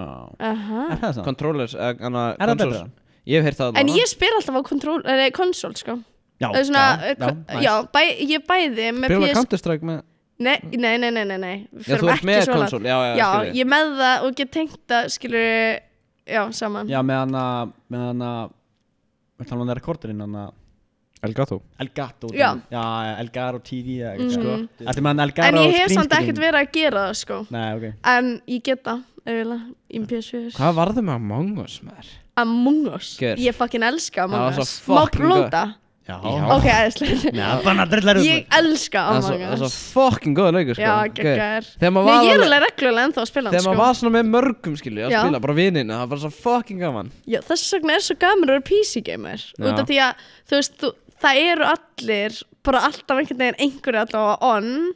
S1: Aha
S3: Er það samt?
S2: Controllers, eh, hana,
S3: Ah. Er það
S2: consoles.
S3: betra?
S2: Ég hef heyrt það
S1: En
S2: allavega.
S1: ég spyr alltaf á kontról, nei, konsól sko
S3: Já,
S1: Það er svona, eh,
S3: já,
S1: hva-
S3: já,
S1: já,
S3: nice.
S1: bæ, ég bæði með
S2: Spila
S1: PS
S2: Counter Strike með,
S1: Nei, nei, nei, nei, nei, nei Við
S2: já
S1: förum
S2: þú ert
S1: ekki
S2: með
S1: svo langt.
S2: konsol, já, já,
S1: Já,
S2: skil
S1: ég með það og get tengt það, skilur Já, saman
S3: Já, með hana með hana við tala um það rekordurinn hana
S2: Elgato.
S3: Elgato
S1: Já.
S3: já Elgaro TV
S1: Mhm.
S3: eða eitthvað sko
S1: Mm.
S3: Þetta er með hana
S1: En
S3: Elgaro
S1: ég hef
S3: green
S1: samt
S3: screen.
S1: ekkert verið að gera það sko
S3: Nei, ok
S1: En ég get það, ef ég vil í PS4
S2: Hvað varðu með Among Us, maður?
S1: Among Us
S2: Gjör.
S1: Ég fucking elska
S2: Það var
S1: Among
S2: svo
S1: Us Má
S2: fucking
S1: plóta?
S3: Já,
S2: Já.
S1: Ok, aðeinslega
S3: Já, bara drillar út
S1: Ég elska
S2: Það er svo-
S1: Among
S2: það er svo
S1: Us
S2: fucking góða leikur, sko.
S1: oh Já,
S2: Ok.
S1: geggar
S2: Þegar maður
S1: Nei,
S2: var
S1: ég er
S2: alveg-
S1: alveg reglulega ennþá að spila hann
S2: Þegar maður
S1: sko
S2: var svona með mörgum skilju að
S1: Já.
S2: spila, bara vinina, það var svo fucking gaman
S1: Já, Þess vegna er svo gaman að vera PC gamer Út af því að, þú veist, þú, það eru allir Bara alltaf einhvern veginn einhverju allavega on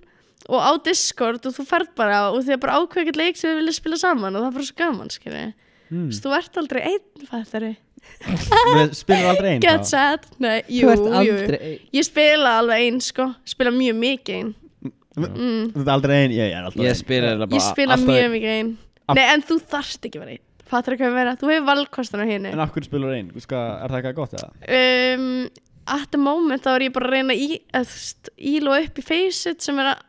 S1: Og á Discord og þú ferð bara Og því að bara ákveðið leik sem við vilja spila saman Og það er bara svo gaman, skilji Þú
S2: Hmm.
S1: veist, þú ert aldrei einn fættari
S3: Við spilum aldrei einn
S1: Get sad Nei, jú, jú
S2: einn
S1: Ég spila alveg einn, sko Spila mjög mikið einn
S3: Þú ert aldrei einn Ég er alltaf
S2: Ég spila þetta
S1: Ég
S2: bara
S1: spila
S2: alltaf
S1: mjög
S2: einn.
S1: mikið einn
S3: Af-
S1: Nei, en þú þarft ekki að vera einn Fattur ekki að vera, þú hefur valkostan á henni
S3: En af hverju spilur einn? Þú Ska, er það eitthvað gott eða?
S1: um, At the moment þá er ég bara að reyna í, að, st, íl og upp í faceit sem er að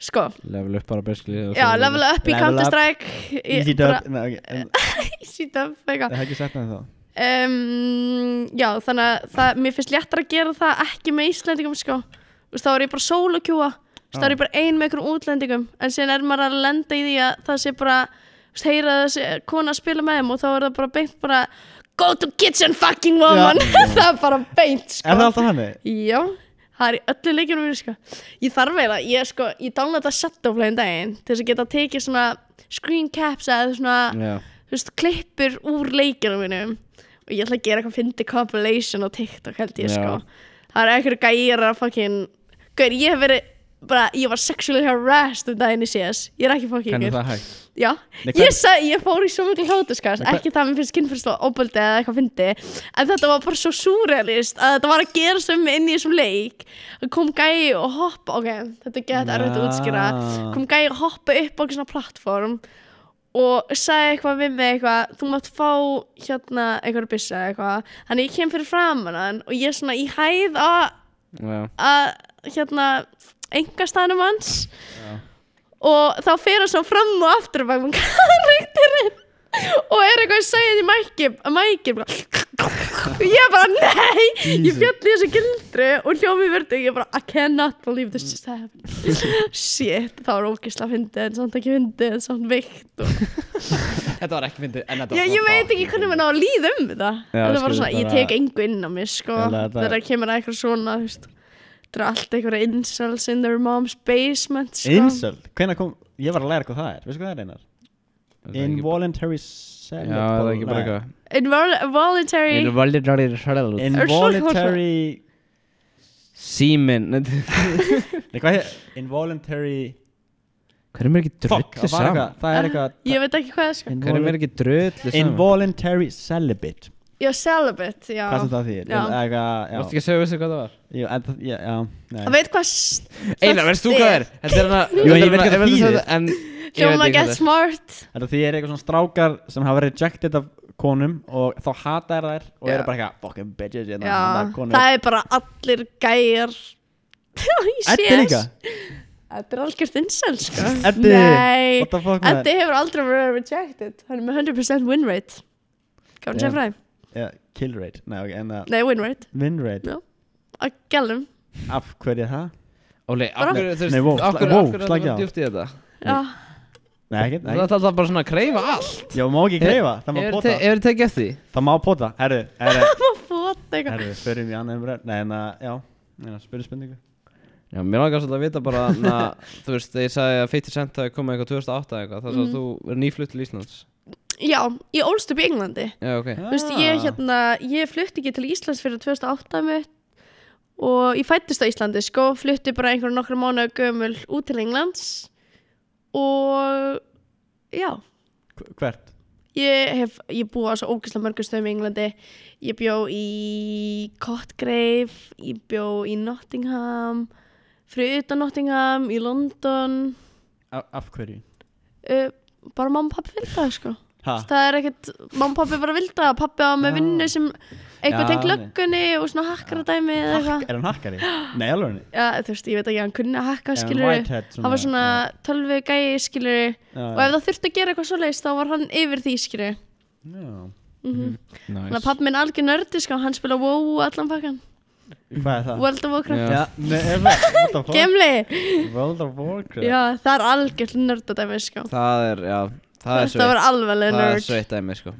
S1: Sko,
S2: Level upp bara beskli
S1: já, level up í
S3: Level
S1: Counter
S3: up.
S1: Strike
S3: Easy dub Nei, ok, en
S1: Easy dub, eitthvað
S3: Það er ekki sagt með það
S1: um, Já, þannig að það, mér finnst léttar að gera það ekki með Íslendingum, sko Þú veist, Þá er ég bara solo queua Þú veist, Þá er ég bara ein með einhverjum útlendingum En síðan er maður að lenda í því að það sé bara þú veist, Heyra þessi kona að spila með þeim Og þá er það bara beint bara go to kitchen fucking woman það er bara beint sko.
S3: Er það alltaf hann?
S1: Já, það er í öllu leikjunum mínu sko. Ég þarf eiginlega, ég sko, ég downloada setoflegin um daginn til þess að geta tekið svona screen caps eða svona,
S3: Já
S1: þú veist, klippur úr leikjunum mínum og ég ætla að gera eitthvað fyndi compilation á TikTok held ég
S3: Já.
S1: sko. Það er einhverju gæir að fucking, gauð, ég hef verið bara, ég var sexually harassed um daginn í CS, ég er ekki fucking
S3: Hvernig er
S1: ykkur.
S3: það hægt?
S1: Já,
S3: Nei, hvern-
S1: ég, sag, ég fór í svo mikil hlátuskast,
S3: Nei, hvern-
S1: ekki það að mér finnst kynfyrslu óböldi eða eitthvað fyndi, en þetta var bara svo súrealist að þetta var að gera sem inn í þessum leik, og kom gæi og hoppa, ok, þetta er gett erfitt að útskýra,
S3: Ja.
S1: kom gæi og hoppa upp á einhver svona plattform og sagði eitthvað við mig eitthvað, þú mátt fá hérna einhverja byssa eða eitthvað, þannig ég kem fyrir framan hann og ég er svona í hæð að
S2: Já.
S1: að hérna engastæðnum hans og þá fer hann svo fram og aftur bak með karakterinn og er eitthvað að segja því mækir mækir bara ég bara nei, ég
S3: Jesus.
S1: fjalli þessu gildru og hljómi verðu og ég bara I cannot believe this just happened shit, það var ógisla fyndið en samt ekki fyndið en samt veikt og...
S2: Þetta var ekki fyndið en þetta
S1: ég,
S2: var
S1: ég veit ekki hvernig maður á að líða um þetta
S3: Já,
S1: þetta var
S3: skilur,
S1: svona, ég
S3: bara-
S1: tek engu inn á mig sko,
S3: Eða þetta-
S1: þegar kemur að eitthvað svona þú veist, þetta er allt einhverja incels in their mom's basement sko.
S3: Insult Hvernig kom Ég var að læra hvað það er Veistu hvað það er einar? Involuntary
S2: Já,
S3: celibate
S2: það er ekki bara eitthvað
S1: Invol- voluntary
S2: Involuntary shroud
S3: Involuntary
S2: Semen Nei,
S3: Nei, hvað er Involuntary
S2: Hverjum er ekki drullu
S3: Fuck Það var
S2: saman?
S3: eitthvað Það er eitthvað
S1: Ég veit ekki hvað það sko
S2: Hverjum er
S3: Involu-
S2: ekki drullu saman?
S3: Involuntary celibate
S1: Já, celibate, já
S3: Hvað sem það þýr
S1: Já.
S2: Þú veist
S3: Eitthvað
S2: ekki að segja þessu hvað það var?
S3: Já Jú, en það- Já já, nei.
S1: Það veit hvað s-
S2: Einar, veist þú hvað er? Þetta er hana
S3: Jú, en ég veit ekki hvað það þýðir.
S2: En
S1: Hljóma get smart
S3: Þetta því er eitthvað svona strákar sem hafa rejected af konum og þá hata er þær og
S1: Já.
S3: eru bara eitthvað fucking bitches
S1: Já,
S3: hérna, handa konur.
S1: það er bara allir gæjar Í
S3: Eddi
S1: CS.
S3: líka?
S1: Þetta er algjört insel sko
S3: Eddi,
S1: Nei
S3: what the fuck maður?
S1: Eddi hefur aldrei verið rejected Hann er með 100% win rate Gáðum
S3: Já.
S1: sér fræði
S3: Ja, kill rate, nei ok, en það
S1: Nei, win rate
S3: win rate,
S1: Já. Að gælum
S3: af hverju er það?
S2: Óli,
S1: Bara-
S2: okkur, þú veist,
S3: Nei, wow,
S2: okkur, okkur,
S3: wow,
S2: okkur er
S3: slakið
S2: það
S3: á.
S2: djúft í þetta
S1: Já,
S3: Nei, ekkert,
S2: Það er
S3: nei,
S2: alltaf bara svona að kreyfa allt
S3: já, má ekki greifa, það má
S2: Hefur
S3: pota,
S2: þið tekið eftir því?
S3: það má pota, herru, herru,
S1: maður fótt eitthvað
S3: herru, förum í annað umræð, nei, en að, já, nei, að spyrja spurningu.
S2: Já, mér langar svolítið að vita bara na, Þú veist, þegar ég sagði að 50 Cent hafi komið eitthvað 2008 eða eitthvað Það
S1: Mhm.
S2: svo að þú er nýflutt til Íslands
S1: Já, ég ólst upp í Englandi
S2: Já, ok
S1: Þú veist,
S3: Ah.
S1: ég hérna, ég flutti ekki til Íslands fyrir 2008 mitt og ég fættist á Íslandi, sko, flutti bara einhverjum nokkra mánuða gömul út til Englands og já,
S3: Hv- Ah. Hvert?
S1: ég hef, ég búið á svo ógeðslega mörgum stöðum í Englandi, ég bjó í Cotgrave, ég bjó í Nottingham, fyrir utan Nottingham, í London,
S3: Af, af hverju?
S1: uh, bara mamma og pappi vildi það, sko.
S3: Ha?
S1: Það er ekkert, mamma og pappi bara vildi það, pappi á með
S3: Já.
S1: vinnu sem
S3: Já,
S1: eitthvað tengt
S3: nei.
S1: löggunni og svona hakkara dæmi eða
S3: Hakk,
S1: eitthvað.
S3: er hann hakkari? Nei, alveg henni.
S1: Já, þú veist, ég veit ekki, hann kunni að hakka, skilur
S3: Whitehead
S1: hann var svona tölvu gæi, skilur
S3: já,
S1: og ef það þurfti að gera eitthvað svo leist þá var hann yfir því, skilur
S3: já, já.
S1: Þannig að pappi minn algjör nördi, sko, hann spila WoW allan pakkan,
S3: Hvað er það?
S1: World of Warcraft.
S2: Já.
S3: Ah. Já, nei, er það, what the fuck?
S1: Gemli!
S3: World of Warcraft
S1: Já, það er algjör nördadæmi, sko.
S2: Það er, já Það er
S1: Þetta var
S2: sveitt
S1: alveg
S2: Það er
S1: nörd.
S2: sveitt dæmi, sko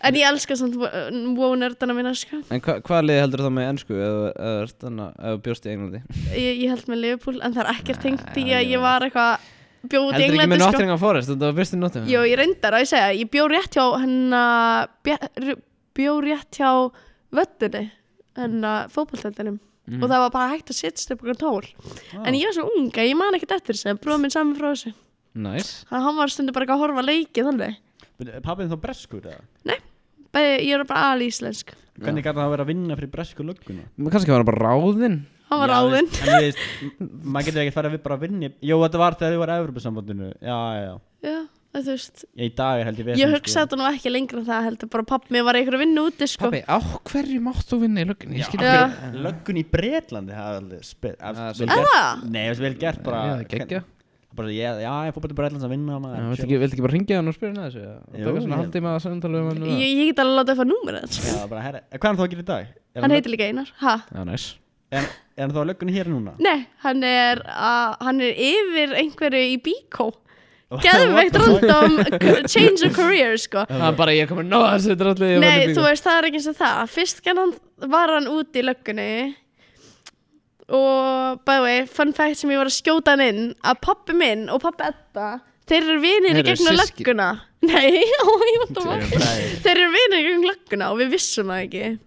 S1: En ég elska samt WoW-nördana mína, sko.
S2: En hva, hvað liði heldur það með ennsku eða, eða, ert þarna- eða bjóst í Englandi?
S1: Ég, ég held með Liverpool, en það er ekkert tengt í
S2: Nei,
S1: að
S2: ég
S1: ég var eitthvað bjóð út í
S2: Heldur ekki með
S1: Englandi, sko.
S2: Nottingham Forest, þetta var bjóst í Nottingham
S1: Jó, ég reyndar að ég segja, ég bjó rétt hjá hennar, bjó rétt hjá völdinni, hennar fótballtöldinum
S2: Mhm.
S1: og það var bara hægt að setjast upp okkur tól. En ég var svo unga, ég man ekkert eftir þessu, en bróðum minn saman frá þessu.
S2: Næs
S1: Þannig að hann var stundu bara eitthvað að horfa á leiki þannig.
S3: Pappin þá breskur eða?
S1: Bæði, ég er bara alíslensk.
S3: Hvernig gæti það að vera að vinna fyrir bresku lögguna?
S2: Kannski var hann bara ráðinn
S1: Hann var áðinn.
S3: En þú veist, m- maður getur ekki farið að við bara að vinna í- Jó, þetta var þegar þið voru að Evropasambandinu Já, já, já
S1: Já, það þú veist.
S3: Ég í dag er held ég við
S1: Ég hugsaði þetta nú ekki lengra en það heldur bara pappi mér var í einhverju vinnu úti, sko.
S2: Pappi, á hverju mátt þú vinna í löggunni? Ég skil
S1: Já.
S2: ekki
S3: Löggun í Bretlandi Það er aldrei spil
S2: Það er
S3: af-
S2: svo-
S3: vel gert.
S1: Eða?
S3: Nei, það er vel gert bara
S2: Já, það er geggjað.
S3: Bara, ég, já, ég fór bara til Bretlands að vinna
S2: Já,
S3: maður
S2: viltu ekki, viltu ekki bara ringja hann og spyrja hann að þessu? eða?
S3: Jú,
S2: Taka svona
S3: ég-
S2: haldtíma að samtala um hann og-
S1: Ég, ég get alveg að láta upp að númera það, sko.
S3: Já, bara, herri Hvað er hann þá að gera í dag? Er
S1: Hann heitir líka Einar, ha?
S2: Já, næs
S3: Er, er hann þá að löggunni hér núna?
S1: Nei, hann er, uh, hann er yfir einhverju í bíkó geðveikt random change of career sko
S2: Það er bara, ég er komin að náða þessu dralli ég verð
S1: Nei,
S2: að
S1: þú
S2: bíða.
S1: veist, það er ekki eins og það Fyrst kann hann, var hann úti í löggunni Og by the way, fun fact sem ég var að skjóta hann inn Að pappi minn og pappi Edda Þeir eru vinir í
S2: Þeir eru
S1: gegnum
S2: systkin.
S1: lögguna Nei, ó, ég vant að
S2: Þeir
S1: var Þeir eru vinir í gegnum lögguna og við vissum það ekki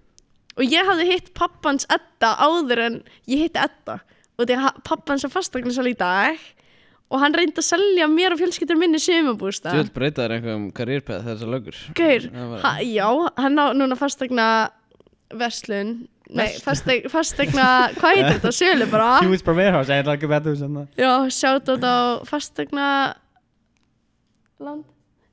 S1: Og ég hafði hitt pappans Edda áður en ég hitti Edda Og því að pappans er fastaklega sal í dag Og hann reyndi að selja mér og fjölskyldur minni sumabústa
S2: Þú vil breyta þér einhverjum um karýrpeð þessar lögur
S1: Gaur,
S2: Það var-
S1: ha, já, hann á núna fastegna verslun Nei, fasteg, fastegna, hvað heitir þetta? Sölu bara
S3: Hughes per warehouse, ég ætla ekki að betta þessum það
S1: Já, sjátt á fastegna Land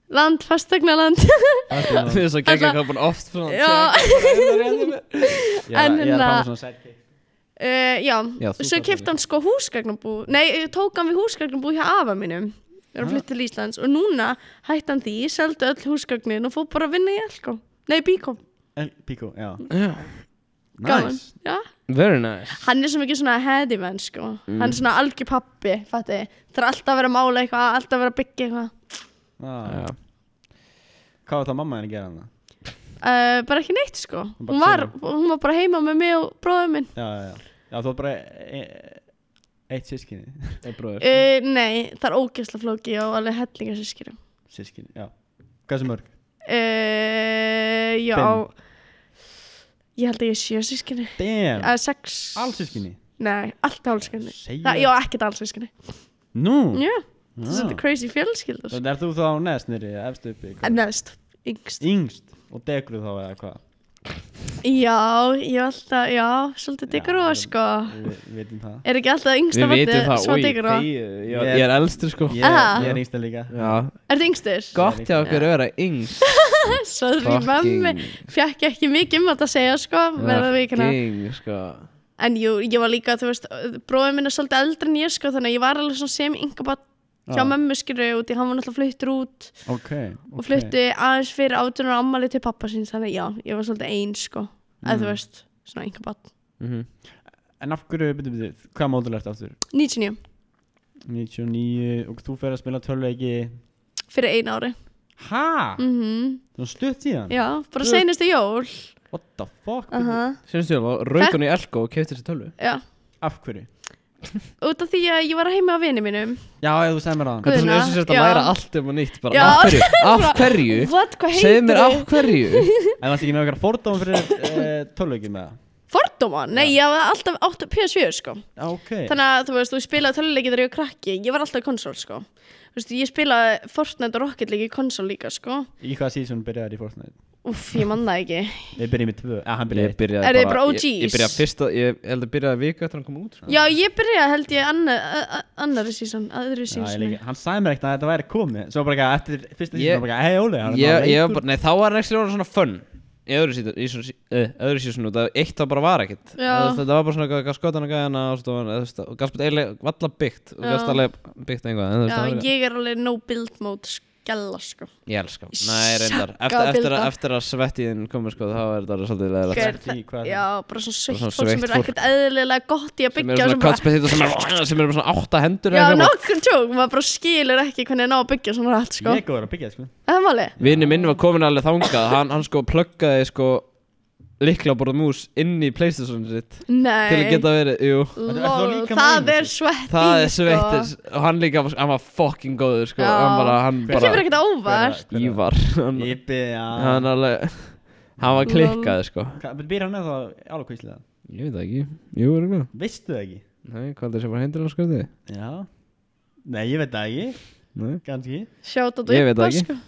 S1: Land, fastegna land
S2: Þú veist að gegja
S1: Alla-
S2: hvað búin oft svona,
S1: Já.
S2: tjekka,
S1: En
S3: Ég er að
S1: hérna-
S3: fá svona sidekick
S1: uh, Já,
S2: Já, þú
S1: svo
S2: þarft
S1: kefti hann sko húsgagnabú Nei, tók hann við húsgagnabú hjá afa mínum Við erum
S2: Ha?
S1: flytt til Íslands Og núna hætti hann því, seldi öll húsgagnin Og fór bara að vinna í Elko Nei, Bíko,
S3: En Pico, já
S2: bara
S1: gaman
S3: Nice
S1: Já
S2: Very nice
S1: hann er svo mikið svona heady man sko hann er
S3: Mm.
S1: svona algjör pappi fatti. það er alltaf að vera að mála eitthvað alltaf að vera að byggja eitthvað
S3: Já. Ah, Hvað var það mamma henni að gera hann það?
S1: uh, bara ekki neitt sko
S3: bara
S1: hún var, hún var bara heima með mig og bróðum minn
S3: Já, já, já Já, þú var bara e e eitt sískinni
S2: Það er bróður
S1: uh, nei, það er ógeðsla flóki og alveg hellinga sískirum
S3: Sískinni, já Hvað sem mörg?
S1: uh, já
S3: Fimm.
S1: ég held að ég sé sískinu
S3: Damn
S1: eða sex
S3: All sískinni
S1: nei, allt álskinni
S3: Segja
S1: já, ekkert allsískinni
S3: Nú
S1: já,
S3: Já.
S1: það er svolítið crazy fjölskyldur sko.
S3: Þannig er þú þá neðst nýri, efst uppi hvað?
S1: neðst, yngst
S3: Yngst Og degru þá eða hvað
S1: já, ég held að, já, svolítið diggur
S3: Já,
S1: og
S3: það-
S1: sko
S3: Við vitum það
S1: Er ekki alltaf yngsta
S2: Við vitum það,
S1: svo
S2: új,
S1: diggur á?
S2: ég, ég er elstur sko
S3: Ég,
S1: Aha.
S3: ég er yngsta líka
S2: Já,
S1: Er það yngstur?
S2: gott hjá okkur að vera yngst
S1: Sorry, mammi
S2: Fucking Ah,
S1: fjekk ekki mikið um þetta að segja, sko, með það vikina.
S2: Fucking, sko
S1: En jú, ég var líka, þú veist, bróðið minn er svolítið eldri en ég, sko, þannig að ég var alveg svona sem yngabatt hjá
S2: Ah.
S3: Já.
S1: mömmu, skilur, og því hann var náttúrulega fluttur út
S3: Ok
S1: og flutti aðeins fyrir átunar ammali til pappa síns, þannig að já, ég var svolítið einn, sko, eða þú
S2: Mm.
S1: veist, svona yngabatt.
S2: Mhm.
S3: En af hverju, byrju, byrju, hvað módul ertu aftur?
S1: 99,
S3: 99 og þú fer að spila tölveiki
S1: fyrir einu ári.
S3: Ha?
S1: Mm
S2: Mm-hmm.
S3: Þú stutt í hann?
S1: Já, bara seinustu jól.
S3: What the fuck?
S1: Uh
S2: Sýnstu ég alveg, raukun í elko og kefti þessi tölvu
S1: Já,
S3: Af hverju?
S1: út af því að ég var heima á vini mínum.
S3: Já, ég, þú segir mér það
S2: Þetta er
S1: Guðna,
S2: svona eins og sérst að
S1: já.
S2: læra allt um að nýtt bara,
S1: Já.
S2: af hverju, af hverju
S1: What, hvað
S2: Segðu mér af
S1: heitir
S2: hverju
S3: En það er ekki með okkar fordóma fyrir uh, tölveiki með það?
S1: Fordóma? Nei, ég hafði alltaf átt PS4 sko
S3: Já, ok
S1: Þannig að þú veist, þú spilaði töluleiki þegar ég var krakki Ég var alltaf í konsól sko Þú veist, ég spilaði Fortnite og Rocket League í konsól líka sko
S3: Í hvaða season byrjaði í Fortnite?
S1: Úff, ég mann það ekki
S3: Við byrjum í tvö Já, hann byrjaði
S2: Ég byrjaði
S1: Er þið bara
S2: ég, ég
S1: OGs?
S2: byrjaði fyrst að, ég held að byrjaði viku eftir að hann kom út sko.
S1: Já, ég byrjaði held ég annar, a- a- annarri sísón Aðri
S3: Já, ég
S1: sísónu
S3: líka Hann sagði mér ekkert að þetta væri komið Svo bara ekki eftir fyrsta
S2: Ég-
S3: season Bara ekki, hei Óli hann er
S2: Ég,
S3: bara
S2: ég var
S3: veikur."
S2: bara, nei þá var hann ekki orðin svona fun Í öðru síðan, í svona, sí- eh, öðru síðan út af eitt það bara var ekkert
S1: Já.
S2: Þú veist, Þetta var bara svona eitthvað skotan og gæðina og svona, þú veist, og gafst bara eiginlega valla byggt og
S1: Já.
S2: gafst alveg byggt einhvað en, þú veist,
S1: Já,
S2: það var-
S1: ég er alveg no build mode skella sko
S2: Ég elska, nei reyndar
S1: Sakka
S2: Eftir,
S1: að
S2: eftir,
S1: builda.
S2: að, eftir að svettiðin komið sko þá er þetta svolítið leðilegt
S1: Gaur,
S3: sagt því, hvað er
S1: það- Já, bara svona sveitt
S2: svona
S1: fólk sem
S2: sveitt
S1: er
S2: fólk.
S1: ekkert eðlilega gott í að
S2: sem
S1: byggja og
S2: eru svona
S1: sem bara-
S2: kratsbetið og sem, sem eru með svona átta hendur hérna
S1: Já,
S2: eða eitthvað.
S1: nokkur tjók, maður bara skilur ekki hvernig að ná að byggja svona rætt sko
S3: Ég er góður að byggja, sko
S1: Það er málið
S2: Vinni minn var komin alveg þangað Hann, hann sko pluggaði sko Likla borða mús inn í Playstation sitt
S1: Nei
S2: Til að geta verið, jú
S1: Lol,
S3: Ertu- ertu þá líka með
S1: það
S3: einum,
S1: er sko. svetti
S2: sko. Það er sveittir Og hann líka, var- hann var fucking góður sko
S1: Já.
S2: Hann bara, hann
S1: Það kemur
S2: bara
S1: ekkert á óvart
S3: Hver er-
S2: Ívar Hann,
S3: Ég byrja
S2: hann alveg Hann var klikkaði sko
S3: Hvað- Býr hann eða þá álokvíslega?
S2: Ég veit það ekki, jú erum við
S3: Veistu það ekki?
S2: Nei, hvað er það sem var hendur að skröði?
S3: Já Nei, ég veit það ekki
S2: Nei
S3: Ganski
S1: Sjátt á
S2: Ég veit það ekki.
S1: sko.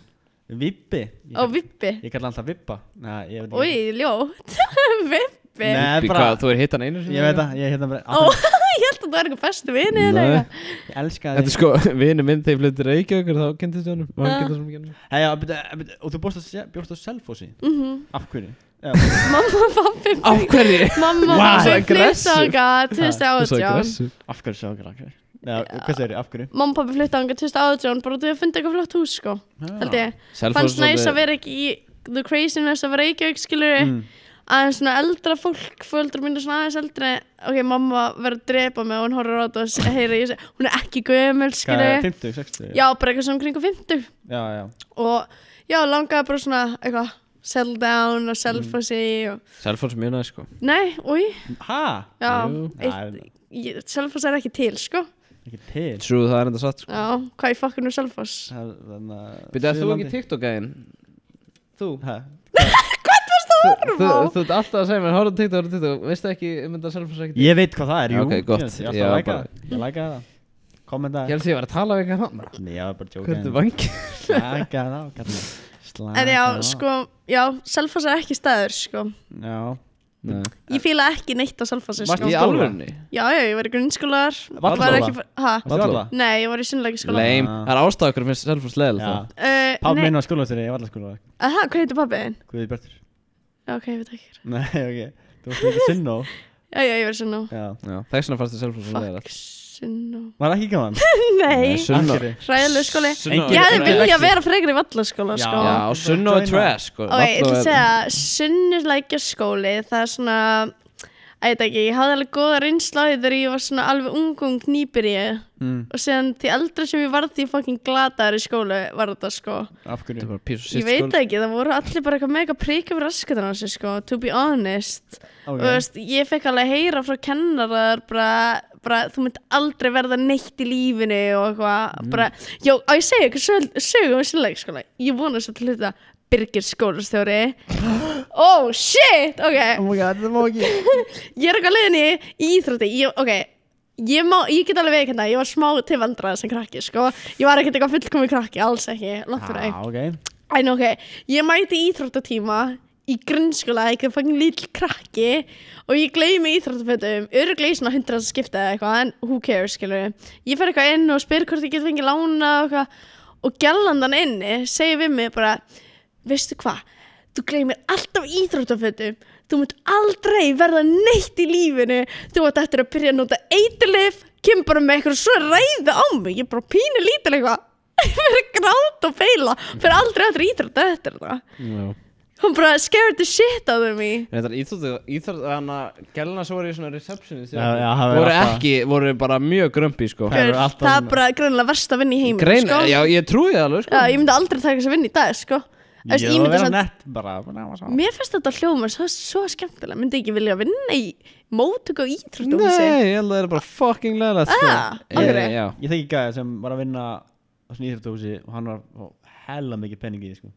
S3: Vibbi Ég
S1: Á
S3: kall-
S1: vippi
S3: Ég kalla alltaf Vibba Nei, ég veit
S1: Úi,
S3: ekki
S1: ljótt Vippi
S3: Nei.
S2: Uppi,
S3: bara-
S2: hvað, þú er hitt hann einu sinni?
S3: Ég veit það, ég hérna bara
S1: Ó,
S3: alltaf-
S1: ég held að það er eitthvað bestu vinni eða
S2: Nei.
S1: eitthvað.
S3: Ég elska
S2: Þetta er
S3: þig
S2: sko, vinur minn þegar ég flutti Reykjavíkur þá kynntist ég honum og hann
S1: Ah.
S2: kynntist honum ekki
S3: Hei, já, byrja, byrja, Og þú bjóst á Se- bjóst á Selfossi
S1: Mhm.
S3: Af hverju?
S1: Mamma og pappi
S2: Á hverju?
S1: Mamma og
S2: Wow.
S1: pappi
S2: Svo
S1: flutt
S2: aggressive.
S1: ánga
S2: Svo
S1: 2018
S2: aggressiv
S3: Af hverju sjá okkur okkur? Já, hvað segir af hverju?
S1: Mamma og pappi flutt ánga 2018 bara því að funda eitthvað flott hús sko
S3: Já.
S1: held ég
S2: Selfoss
S1: Fannst
S2: er
S1: næst
S2: svolítið-
S1: að vera ekki í the craziness of Reykjavík skilur
S3: Mm.
S1: aðeins svona eldra fólk, földur mínu svona aðeins eldri ok, mamma verður að drepa mig og hún horfir á þetta og s- heyrir ég seg, hún er ekki gömul,
S3: Hvað er
S1: skilju
S3: 50, 60?
S1: já, bara eitthvað sem kringu 50
S3: já, já.
S1: og já, langaði bara svona eitthvað, settle down og selfa sig og,
S2: Selfons mjög næst sko
S1: nei, úi
S3: Ha?
S1: já,
S2: Jú.
S1: eitt,
S3: Nei,
S1: ég, selfa sig er ekki til, sko
S3: ekki til
S2: Trú það er enda satt sko
S1: já, hvað ég fokkur nú selfas
S2: Býttu, ert þú ekki TikTok-gæðin? Þú?
S3: Hæ?
S2: Þú, þú, þú ert alltaf að segja mér, horfðu á TikTok, horfðu á TikTok Veistu ekki, um ég mynda Selfons ekki
S3: Ég veit hvað það er, jú
S2: Ok, gott.
S3: Ég ætla
S2: Já,
S3: að læka
S2: bara-
S3: það Ég læka það Kommenta
S2: Ég held að ég var að tala við eitthvað hann
S3: Nei, ég var bara að
S2: Hvað ertu
S3: tjóka
S2: vangi?
S3: Slaka það á, kallar Slaka
S1: en já,
S3: á.
S1: sko, já, selfas er ekki staður, sko
S3: Já
S1: ég fíla ekki neitt á selfasi,
S2: Varst
S1: sko
S2: í
S3: skóla?
S2: alvörunni?
S1: já, já, ég var í grunnskólar
S3: Varstu
S1: var
S3: alveg?
S1: ekki, hæ?
S3: Varstu
S2: Valla.
S3: alveg?
S1: Nei, ég var í sinnleikaskóla
S2: Leim,
S3: Ah.
S2: það er ástæða okkur finnst Selfons leðil
S3: Já
S2: það
S1: Uh,
S3: Pabbi
S1: nei,
S3: minn var skólastjóri, ég var alltaf skóla
S1: aha, hvað heitir pappiðin?
S3: Guði Bjartur
S1: Já, ok, ég veit ekki hver.
S3: Nei, ok Þú varst ekki Sinnó
S1: Já, já, ég verði Sunnó
S3: Já
S2: Já, þess vegna fannst þið Selfons leðil
S1: Fuck, Sunnó
S3: Var ekki gaman?
S1: Nei,
S2: Sunna
S3: Akkurri.
S1: hræðileg skóli
S2: Sunna
S1: Ég hefði
S3: Nei,
S1: viljað
S3: ekki.
S1: vera frekar í vallaskóla,
S3: Já.
S1: sko
S2: Já, og Sunna er
S3: Joina.
S2: trash sko
S1: Ok, ég ætla
S2: Valla
S1: að
S2: er-
S1: segja, sunnulækjaskóli, það er svona Æ, ég veit ekki, ég hafði alveg góða reynsla á því þegar ég var svona alveg ung og knýpir ég
S3: Mm,
S1: og síðan því eldra sem ég varð því fucking glataður í skólu var þetta sko
S3: Af
S2: Þetta
S3: hverju?
S2: er bara pís og
S1: Ég
S2: sýtt
S1: veit ekki, það voru allir bara eitthvað mega príkjum raskatan á sig sko, to be honest
S3: Ok.
S1: og þú veist, ég fekk alveg að heyra frá kennarar bara, bara þú mynd aldrei verða neitt í lífinu og eitthvað, bara, já, á ég segja eitthvað sög- sögu um sinnleik skóla ég vona þess að hluta Birgir skólastjóri oh shit ok,
S3: Oh my god, þetta má ekki
S1: ég er eitthvað leiðinni í íþrótti, ég, ok ég, má, ég get alveg veikenda, ég var smá til vandrað sem krakki, sko, ég var ekkert eitthvað fullkomi krakki, alls ekki, langt fyrir
S3: Já, Ah, ok
S1: En ok, ég mæti í íþróttatíma í grunnskóla, eitthvað fangin lítill krakki og ég gleymi íþróttafötum, öruglega í svona hundra skipta eða eitthvað, en who cares, skilur við. Ég fer eitthvað inn og spyr hvort ég get fengið lána og eitthvað og gælandan inni segir við mig bara, veistu hvað, þú gleymir alltaf íþróttafötum, þú munt aldrei verða neitt í lífinu, þú átt eftir að byrja að nota eiturlif, kemur bara með eitthvað svo ræða á mig, ég er bara pínu lítil eitthvað ég fyrir grátt og feila fyrir aldrei aftur íþrótt eftir það
S2: Já
S1: hún bara scared the shit out of me
S2: Þetta íþrótt hana gælna svo voru í svona receptionist
S3: Já, já, það er
S2: voru
S3: alltaf-
S2: ekki, voru bara mjög grömpi sko
S3: Það eru
S1: Gaur,
S3: alltaf
S1: það er
S3: svona-
S1: bara greinlega verst að vinna í heiminum
S2: Grein,
S1: sko.
S2: já ég trúi það alveg
S1: Já,
S2: sko
S1: ég myndi aldrei taka þess að vinna í dag sko. Þú veist, ég
S3: Ég var að
S1: myndi
S3: vera
S1: samt-
S3: nett bara bara hafa saman.
S1: mér finnst þetta hljóma svo, svo skemmtilega myndi ekki vilja vinna í mótök og íþrótt
S2: Nei, ég held að það er bara fucking leðilegt sko
S1: Ah,
S2: Ég-
S1: alveg.
S2: Já,
S3: Ég þekki gæði sem var að vinna á svona íþjóttúsi og hann var á hella mikið peningi í því, sko.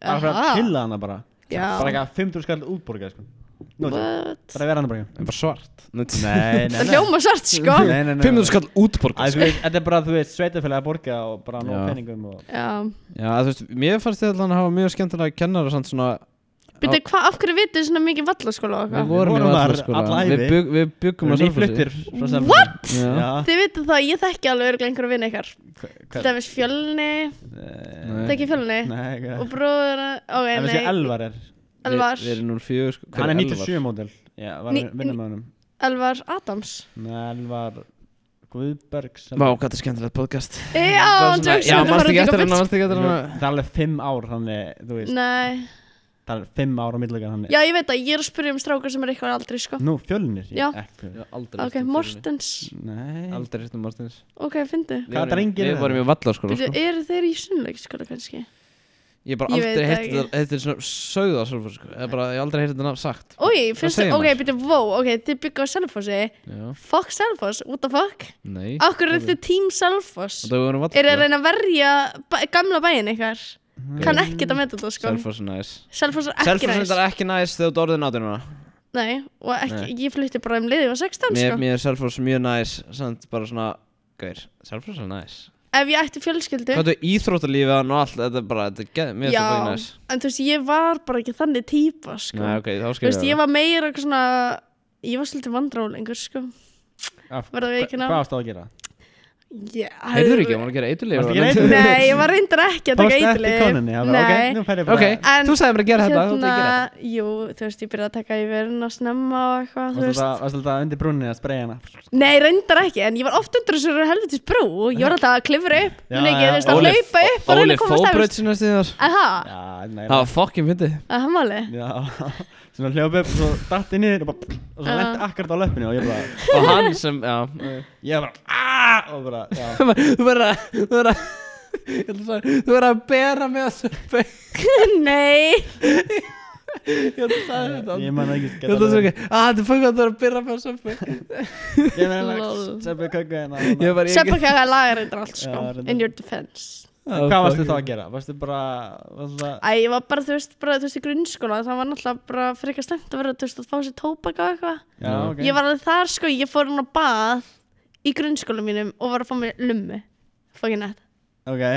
S3: Bara fyrir
S1: Aha.
S3: að killa hana bara.
S1: Já.
S3: Bara ekki að 50 skall útborga sko. Nú, bara
S1: What?
S3: að vera hana bara.
S2: það er bara svart
S3: Nei, nei,
S1: það hljóma svart sko.
S3: Nei, nei, nei.
S2: 500 skall sko.
S3: Æ, sko.
S2: útborga
S3: þú veist, þetta er bara, þú veist, sveitafélag að borga og bara nóg
S2: Já.
S3: peningum og...
S1: já.
S2: Já, þú veist, mér fannst þið allan að hafa mjög skemmtilega kennara samt svona
S1: Byrju, hva, af hverju vitið þið svona mikið vallaskóla og
S2: Við
S1: eitthvað?
S2: vorum í
S3: Vorum þar alla
S2: vallaskóla
S3: ævi.
S2: Við bjugg- Við
S3: Við
S2: byggum á
S3: erum
S2: Selfossi
S3: nýfluttir frá Selfossi. What?
S2: Já.
S3: Já.
S1: Þið vitið það, ég þekki alveg örglega einhverju vinni ykkar Til
S3: Hvað?
S1: dæmis fjölni,
S2: Nei.
S1: þekki fjölni
S3: Nei, hvað?
S1: Og bróður, ok,
S3: En þessi
S1: nei,
S3: Elvar er,
S1: Elvar
S2: Við við erum 04 sko Hver
S3: hann er
S2: Elvar?
S3: 97 módel. Já, var
S1: Ný-
S3: að vinna með honum.
S1: Elvar Adams
S3: Nei, Elvar Guðbergs.
S2: Vá, hvað þetta er skemmtilegt podcast
S1: Já, hann tjóks
S2: Já, mannst ekki eftir hana, mannst ekki eftir hana
S3: Það er alveg fimm ár, þannig, þú veist,
S1: Nei,
S3: það er fimm ár á millega, þannig.
S1: já ég veit að ég er að spyrja um strákar sem er eitthvað aldrei sko
S3: Nú, fjölnir?
S1: Já.
S3: Ekki.
S2: Já, aldrei
S1: Ok,
S2: heyrt um Fjölni.
S1: Mortens,
S3: Nei.
S2: Aldrei hýttum Martins
S1: ok, fyndi
S3: Hvaða drengir eru
S2: Við vorum í vallarskóla
S1: Býtu,
S2: sko.
S1: eru þeir í sunnleikskóla kannski?
S2: Ég hef bara
S1: Ég veit
S2: aldrei
S1: það
S2: heyrt
S1: ekki.
S2: þetta Þetta er svona sögða sjálfur sko. Ég hef bara ég hef aldrei heyrt þetta nafn sagt
S1: Ói, finnst
S2: segir
S1: þið, ok,
S2: maður?
S1: býtu, wow, ok, þið byggja á Selfossi
S2: Já,
S1: Fuck Selfoss, what the fuck?
S2: nei
S1: Akkur er þið team Selfoss?
S2: Þetta við vorum í
S1: Er að
S2: vallarskóla
S1: reyna að verja ba gamla bæin ykkar? Kann ekkert að meta þetta sko
S2: Mm. Selfoss er næs
S1: Selfoss er ekki
S2: Selfoss
S1: næst
S2: er ekki næs þegar þú ert orðin átján ára
S1: Nei, og ekki, ég flutti bara um liðið á 16
S2: Mér
S1: sko
S2: mér er Selfoss mjög næs Samt bara svona Gaur, Selfoss er næs
S1: Ef ég ætti fjölskyldu
S2: Hvað er íþróttalífið og allt Þetta er bara Þetta er geð- Mér er þetta
S1: Já,
S2: bara næs
S1: en þú veist, ég var bara ekki þannig típa, sko.
S2: Nei, ok,
S1: þú
S2: þá
S1: veist,
S2: skilur
S1: ég
S2: ég það.
S1: var meira eitthvað svona, ég var svolítið vandrálingur, sko.
S3: Af-
S1: Verða við ekki ná?
S3: Hvað ástu að gera?
S1: Yeah,
S2: Heyrður ekki, hún var að gera hérna. eiturlif
S3: Varstu að gera eiturlyf?
S1: Nei, ég var reyndar ekki að taka
S3: Tókstu eftir
S1: eiturlyf.
S3: konunni, það var,
S1: Nei.
S3: ok, nú fer ég bara
S2: Ok,
S1: En,
S2: þú sagði mér að gera þetta, þú ætti að gera þetta
S1: hérna, jú, þú veist, ég byrjaði að taka yfirinn að snemma og eitthvað, þú
S3: Varstu
S1: veist.
S3: alltaf- varstu alltaf undir brúninni að spreja hana
S1: Nei, reyndar ekki, en ég var oft undir þessu helvitis brú, ég var alltaf að klifra upp,
S3: Já,
S1: muni ekki,
S3: já,
S1: þú veist, að
S2: Óli-
S1: hlaupa upp og reyna
S2: Óli
S1: að komast
S2: fóbraut
S1: efst.
S2: sinna stíðar
S1: Aha,
S3: Já, nei,
S2: Það var fokkin fyndið
S1: að það máli.
S3: Já, svona hljópa upp og svo datti niður og bara og svo
S1: Já.
S3: lendi akkurat á löppinu og ég bara
S2: Og hann sem, já
S3: ég bara aaaah og bara já.
S2: Þú verður að, þú verður að ég ætla að segja, Þú verður að bera með þessu Ég
S1: Nei,
S2: ætla að sagði þetta
S3: ég man ekki
S2: Ég ætla að segja, að þetta er fokkin að þú verður að bera með þessu
S3: ég meina
S1: Lol.
S3: like seppi kökku en
S2: Ég var
S1: sepp ekki að laga reyndar allt, sko,
S3: Já, reyndar.
S1: in your defense.
S2: Ah,
S3: hvað varstu þá að gera varstu bara varstu það
S1: Æ, ég var bara, þú veist, bara, þú veist, í grunnskóla, það var náttúrulega bara frekar stemt að vera, þú veist, að fá sér tóbak og eitthvað.
S3: já ok
S1: Ég var alveg þar sko, ég fór hann á bað í grunnskóla mínum og var að fá mér lummi Fokkin nett
S3: ok